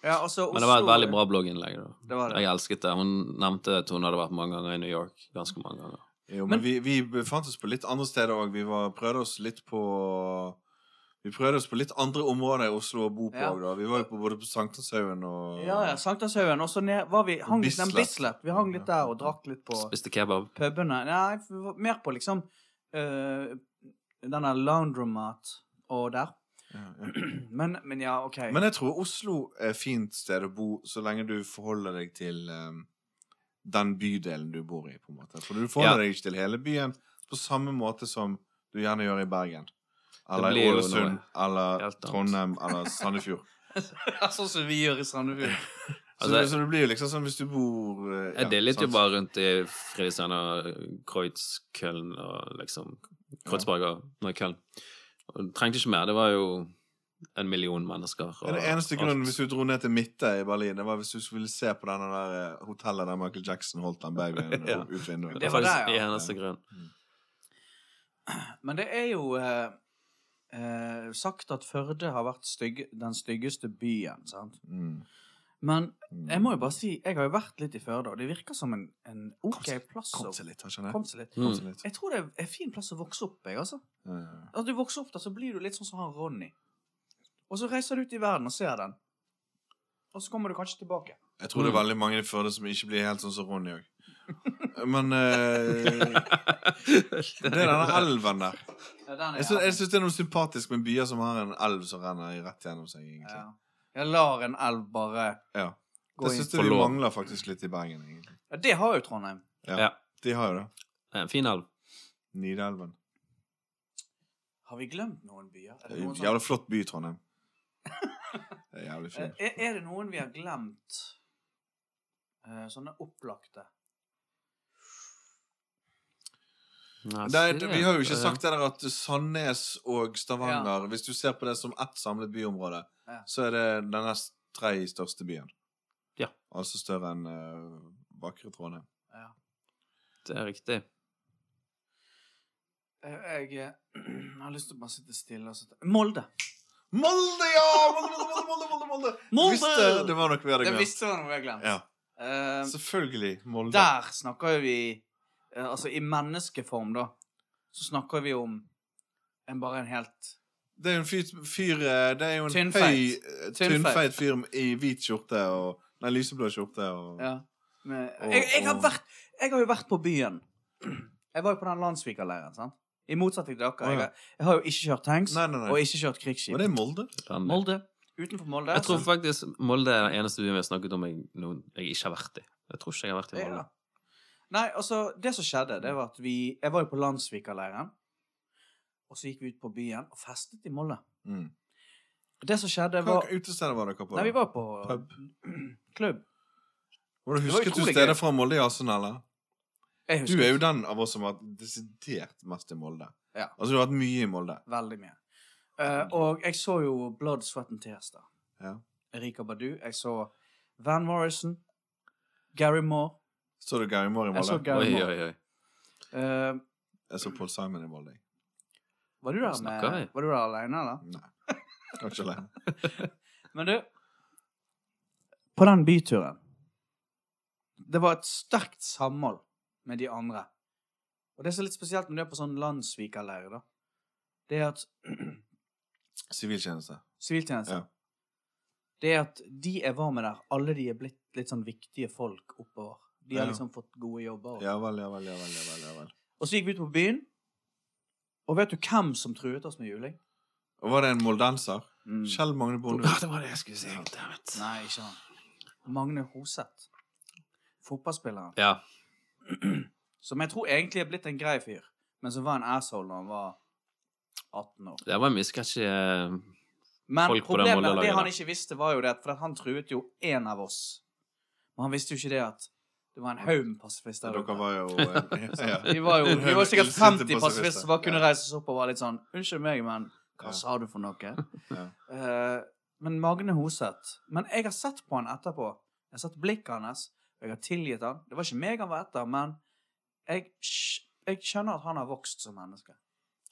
Ja, og så Men det var et Oslo- veldig bra blogginnlegg. da. Det var det. Jeg elsket det. Hun nevnte at hun hadde vært mange ganger i New York. Ganske mange ganger. Jo, eh, Men- men vi, vi befant oss på litt andre steder òg. Vi var, prøvde oss litt på Vi prøvde oss på litt andre områder i Oslo å bo på Ja. òg, da. Vi var jo på, både på Sankthanshaugen og Ja, ja. Sankthanshaugen. Og så ned var vi, hang litt ned Bislett. Bislett. Vi hang litt der og drakk litt på Spiste kebab. pubene. Nei, vi var mer på liksom eh, denne laundromat og der. Ja, ja. Men, men ja, OK. Men jeg tror Oslo er et fint sted å bo så lenge du forholder deg til eh, den bydelen du bor i, på en måte. For du forholder deg ikke til hele byen på samme måte som du gjerne gjør i Bergen. Eller i blir jo Ålesund, eller helt annet. Trondheim, eller Sandefjord. sånn som vi gjør i Sandefjord. Så, Altså, det, så det blir jo liksom sånn hvis du bor eh, ja, Jeg delet jo sant? bare rundt i Fredrikstad og Kreutz, Köln og liksom Kreuzberg og nei, Köln. Og det trengte ikke mer. Det var jo en million mennesker. Det er det eneste grunnen hvis du dro ned til Midte i Berlin. Det var hvis du ville se på denne der eh, hotellet der Michael Jackson holdt den babyen Ja. ut vinduet. Det var faktisk der, ja. den eneste grunnen. Men det er jo eh, eh, sagt at Førde har vært stygge, den styggeste byen, sant? Mm. Men Mm. jeg må jo bare si, jeg har jo vært litt i Førde, og det virker som en, en ok plass Kom å seg litt, skjønner jeg. komme seg litt. Kom Mm. seg litt. Jeg tror det er en fin plass å vokse opp, jeg, altså. Ja, ja, ja. At du vokser opp der, så blir du litt sånn som han Ronny. Og så reiser du ut i verden og ser den. Og så kommer du kanskje tilbake. Jeg tror det Mm. er veldig mange i Førde som ikke blir helt sånn som Ronny òg. Men eh, det er denne elven der. Ja, den Jeg syns, jeg syns det er noe sympatisk med byer som har en elv som renner rett gjennom seg. egentlig. ja. Jeg lar en elv bare Ja. gå Det inn. syns jeg vi Forlov. mangler faktisk litt i Bergen. egentlig. Ja, det har jo Trondheim. Ja. Ja. De har jo det. Det er En fin elv. Nidelven. Har vi glemt noen byer? Er Det det er jo noen en som- Jævlig flott by, Trondheim. Det er jævlig Eh, fint. Er, er det noen vi har glemt? Eh, Sånne opplagte. Nei, Det er, si det. vi har jo ikke Det er- sagt det der at Sandnes og Stavanger Hvis du ser på det som ett samlet byområde, Ja. så er det den nest tredje største byen. Ja. Altså større enn eh, vakre Trondheim. Ja. Det er riktig. Eh, Jeg eh, har lyst til å bare sitte stille og sitte Molde! Molde, ja! Molde, Molde, Molde, Molde, Molde, Molde. Molde! Visste, det var noe vi hadde Jeg glemt. visste det var noe vi hadde glemt. Ja. Eh, Selvfølgelig. Molde. der snakker jo vi eh, Altså, i menneskeform, da, så snakker vi om en, bare en helt Det er jo en fyr, fyr eh, Det er jo en Tynnfeit. høy, eh, Tynnfeit. tynnfeit fyr i hvit skjorte og Nei, lyseblå skjorte og Ja. Med, Og- jeg, jeg, har og- vært, jeg har jo vært på byen. Jeg var jo på den landsvikerleiren, sant? I motsetning til dere. Å, ja. Jeg, har- jeg har jo ikke kjørt tanks, Nei, nei, nei. og ikke Var kjørt det krigsskip. i Molde? Den- Molde. Utenfor Molde. Jeg tror så- faktisk Molde er den eneste byen vi har snakket om jeg, noen, jeg ikke har vært i. Jeg tror ikke jeg har vært i Molde. Ja. Nei, altså, det som skjedde, det var at vi Jeg var jo på landsvikerleiren. Og så gikk vi ut på byen og festet i Molde. Mm. Det som skjedde, Hva var utesteder var dere på? Nei, vi var på Pub. klubb. Var det Det var husket du utrolig stedet gøy. fra Molde, Jasen, eller? Jeg Du husker er jo den av oss som har vært desidert mest i Molde. Ja. Altså, du har vært mye i Molde. veldig mye. Eh, og jeg så jo Blood, Sweat and Tears da. Ja. Erika Badu. Jeg så Van Morrison. Gary Moore. Så du Gary Moore i Jeg så Molde? Gary Oi, Moore. oi, oi. Eh, Jeg så Paul Simon i Molde. var du der Snakker med vi? Var du der alene, eller? Nei. Jeg var ikke alene. Men du På den byturen Det var et sterkt samhold med de andre. Og det som er litt spesielt med det på sånn landsvikerleir, da, det er at Siviltjeneste. Siviltjeneste. Ja. Det er at de jeg var med der, alle de er blitt litt sånn viktige folk oppover. De har Ja. liksom fått gode jobber. Ja vel, ja vel, ja vel. Ja vel, ja vel. Og så gikk vi ut på byen, og vet du hvem som truet oss med juling? Og var det en moldenser? Mm. Kjell Magne Bonde. Ah, det var det jeg skulle si. Dammit. Nei, ikke han. Magne Hoseth. Fotballspilleren. Ja. Som jeg tror egentlig er blitt en grei fyr, men som var en asshole når han var 18 år. Det var mye sketsjy eh, Men Folk på det problemet, det, Molde-laget han der. ikke visste, var jo det at For at han truet jo én av oss. Men han visste jo ikke det at det var en haug med pasifister. der ute. Dere var jo eh, ja. Vi var jo vi var sikkert 50 pasifister som bare kunne Ja. reise seg opp og være litt sånn Unnskyld meg, men hva Ja. sa du for noe? Ja. Eh, men Magne Hoseth Men jeg har sett på han etterpå. Jeg har sett blikket hans, og jeg har tilgitt han. Det var ikke meg han var etter, men jeg, skj- jeg skjønner at han har vokst som menneske.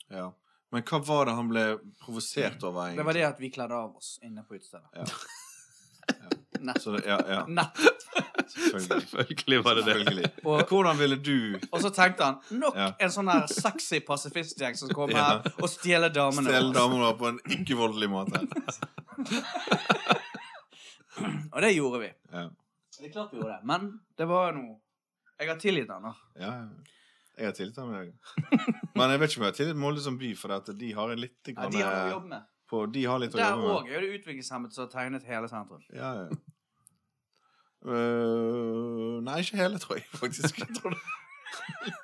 Ja. Men hva var det han ble provosert over, egentlig? Det var det at vi kledde av oss inne på utestedet. Ja. Nett. Så det, ja, ja. Nett. Selvfølgelig. Selvfølgelig var det det. Selvfølgelig. Og- Hvordan ville du Og så tenkte han nok Ja. en sånn her sexy pasifistgjeng som kommer Ja. her og stjeler damene stjele våre. damer på en ikke-voldelig måte? Og det gjorde vi. Ja. Det er klart vi gjorde det, men det var jo noe Jeg har tilgitt han, da. Ja, ja. jeg har tillit til ham. jeg. Men jeg vet ikke om jeg har tillit til Molde som by, for at de har en litt Ja, grann, de har eh, jo jobb med. på, de har litt å Der jobbe òg med. er det utviklingshemmede som har tegnet hele sentrum. Ja, ja. Øh, nei, ikke hele, tror jeg faktisk. Jeg tror det.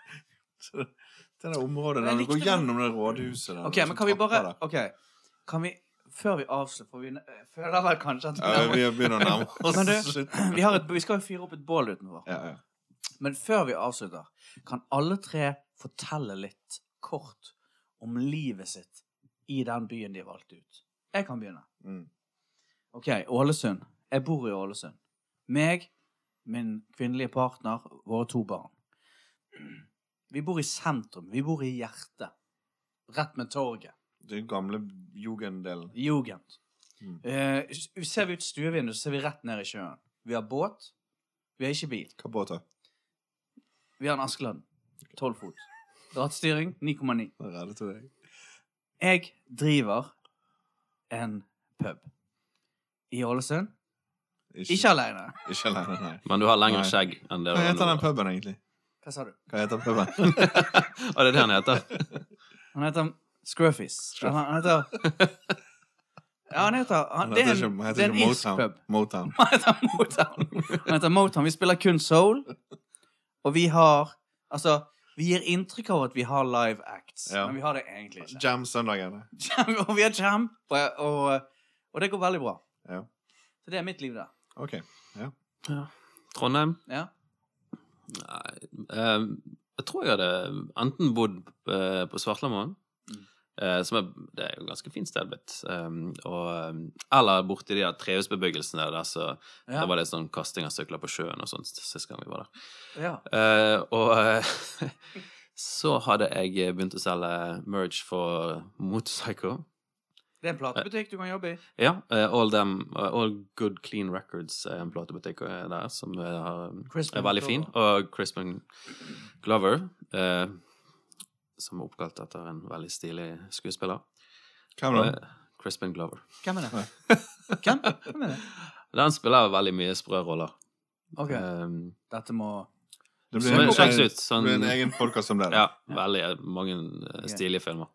Så det der området Men der jeg du går likte det. gjennom det rådhuset der. OK, det er men sånn kan vi trapper bare der. OK. Kan vi Før vi avslutter, for vi eh, føler vel kanskje at Ja, vi begynner å nærme Men du- oss slutten. vi, har et, vi skal jo fyre opp et bål utenfor. Ja, ja. Men før vi avslutter, kan alle tre fortelle litt kort om livet sitt i den byen de har valgt ut? Jeg kan begynne. Mm. OK, Ålesund. Jeg bor i Ålesund. Meg, min kvinnelige partner, våre to barn. Vi bor i sentrum. Vi bor i hjertet. Rett med torget. Den gamle jugenddelen. Jugend. Mm. Eh, ser vi ut stuevinduet, så ser vi rett ned i sjøen. Vi har båt. Vi har ikke bil. Hva båt da? Vi har en Askeladden. 12 fot. Rattstyring 9,9. Jeg er redd til deg. Jeg driver en pub i Ålesund. Ikke alene. ikke alene, nei. Men du har lengre Nei. skjegg enn det Hva du heter har den nå. puben egentlig? Hva sa du? Hva heter puben? Og det er det han heter. Han heter Scruffis. Han, han heter Ja, han heter han, Det er heter en, ikke- det er en ikke irsk pub. Motown. Han heter Motown. Han heter Motown. Vi spiller kun soul, og vi har Altså, vi gir inntrykk av at vi har live acts, Ja. men vi har det egentlig ikke. Jam søndagene. Jam, og vi har jam, og, og, og det går veldig bra. Ja. Så det er mitt liv, da. Ok. Trondheim. Ja. Nei, eh, jeg tror jeg hadde enten bodd eh, på Svartlamoen, Mm. eh, som er, det er jo et ganske fint sted blitt, eh, og, eh, eller borti de der trehusbebyggelsene der, så Ja. der var det sånn kasting av sykler på sjøen og sånt sist gang vi var der. ja. Eh, og eh, så hadde jeg begynt å selge merge for Motorpsycho. Det er en platebutikk du kan jobbe i. Ja, eh, all, them, eh, all Good Clean Records er en platebutikk eh, der som eh, har, Crispin er veldig fin. Og Crispin Glover, eh, som er oppkalt etter en veldig stilig skuespiller. Hvem da? Eh, Crispin Glover. Hvem er det? Hvem? Hvem er det? Den spiller veldig mye sprø roller. Ok, Eh, dette må Det som en- er- sjekk ut, sånn- det blir en egen podkast om det. Ja, veldig eh, mange eh, stilige filmer.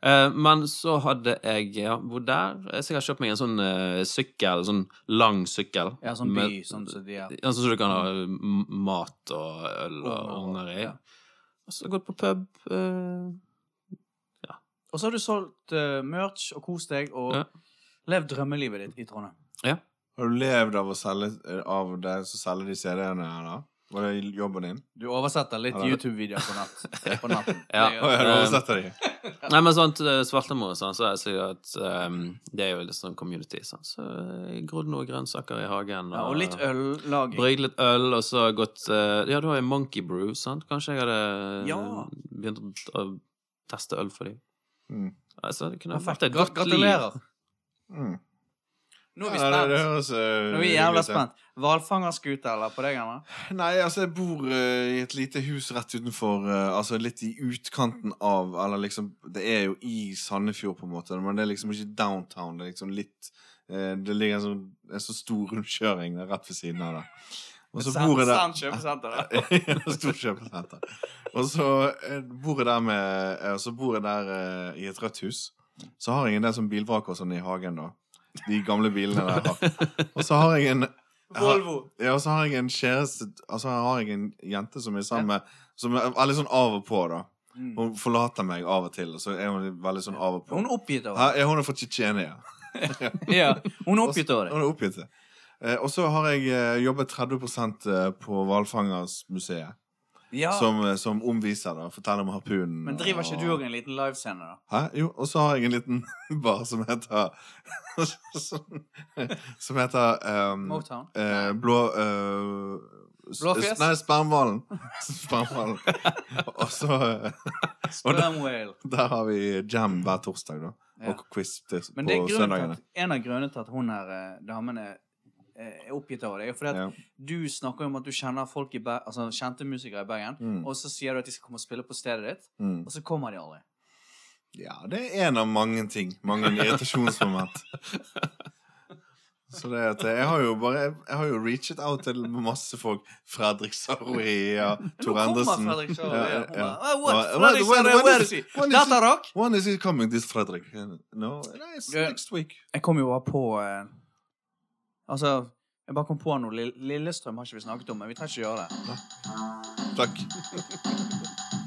Eh, men så hadde jeg ja, bodd der. Jeg sikkert kjøpt meg en sånn eh, sykkel, sånn lang sykkel. Ja, sånn by, med- sånn som de er. Ja, sånn som du kan ha eh, m- mat og øl og Unger og- unger i. ja. Og så gått på pub. eh, Og så har du solgt eh, merch og kost deg og Ja. levd drømmelivet ditt i Trondheim. Har du levd av å selge eh, av de som selger de CD-ene her, da? Var det jobben din? Du oversetter litt Ja, det- YouTube-videoer på, natt, eh, på natten. Ja. Å ja, du Eh, oversetter de? Nei, men sånt eh, Svartemo og sånn, så er det sikkert at eh, Det er jo litt sånn community, sånn. Så jeg grodde noen grønnsaker i hagen. Ja, og litt øllaging. Brygget litt øl, og så gått eh, Ja, du har jo Monkey Brew, sant? Kanskje jeg hadde eh, Ja. begynt å teste øl for dem? Mm. Altså, det kunne vært Perfekt. et Grat- godt liv. Gratulerer. Mm. Nå er vi Ja, nei, det spent. høres, eh, Nå er vi hyggelig jævla ut, ja. spent. Hvalfangerskute, eller? På deg, eller? Nei, altså, jeg bor eh, i et lite hus rett utenfor eh, Altså litt i utkanten av Eller liksom Det er jo i Sandefjord, på en måte, men det er liksom ikke downtown. Det er liksom litt eh, Det ligger en sånn, en sånn stor rundkjøring der rett ved siden av det. Og så bor jeg der Sand kjøpesenter. da. Stort kjøpesenter. Og så eh, bor jeg der, med, eh, så bor jeg der eh, i et rødt hus. Så har jeg en del sånn bilvrak og sånn i hagen, da. De gamle bilene der. jeg har. Og så har jeg en jeg har- Volvo. ja, og så har jeg en kjæreste Altså jeg har jeg en jente som er sammen med Som er veldig sånn av og på, da. Mm. Hun forlater meg av og til, og så er hun veldig sånn av og på. Hun er oppgitt over det. Her, ja, hun er fra Tsjetsjenia. Ja, hun er oppgitt over det. Hun er oppgitt. det. Eh, og så har jeg eh, jobbet 30 på Hvalfangersmuseet, Ja, som, eh, som omviser da, forteller om harpunen. men driver ikke du òg en liten livescene, da? Hæ? Jo, og så har jeg en liten bar som heter Som, som heter ehm, Motown? Eh, blå eh, s- Blåfjes? Nei, spermhvalen. Spermhvalen. og så eh, og da- Sperm whale. Der har vi jam hver torsdag, da. Ja. Og quiz til, på Men det er grunnen søndagene. til at, en av grunnene til at hun her eh, damen er, eh, er oppgitt over det, er jo fordi at Ja. du snakker jo om at du kjenner folk i Ber altså, kjente musikere i Bergen, Mm. og så sier du at de skal komme og spille på stedet ditt, Mm. og så kommer de aldri. ja, det er en av mange ting. Mange irritasjonsmoment. Så det at jeg har jo bare Jeg har jo reachet out til masse folk. Fredrik Sarri og Nå Tor kommer Endresen. Fredrik Sjøen. Ja, ja, Hun ja. bare, "Ah, what? Hva- Fredrik when- when- Sjøen, when is where is he? it- when is it- Data rock? When is he coming, this Fredrik? No, it's Ja. next week. Jeg kom jo bare på eh, Altså, jeg bare kom på noe. Lill- Lillestrøm har ikke vi snakket om, men vi trenger ikke gjøre det. Takk.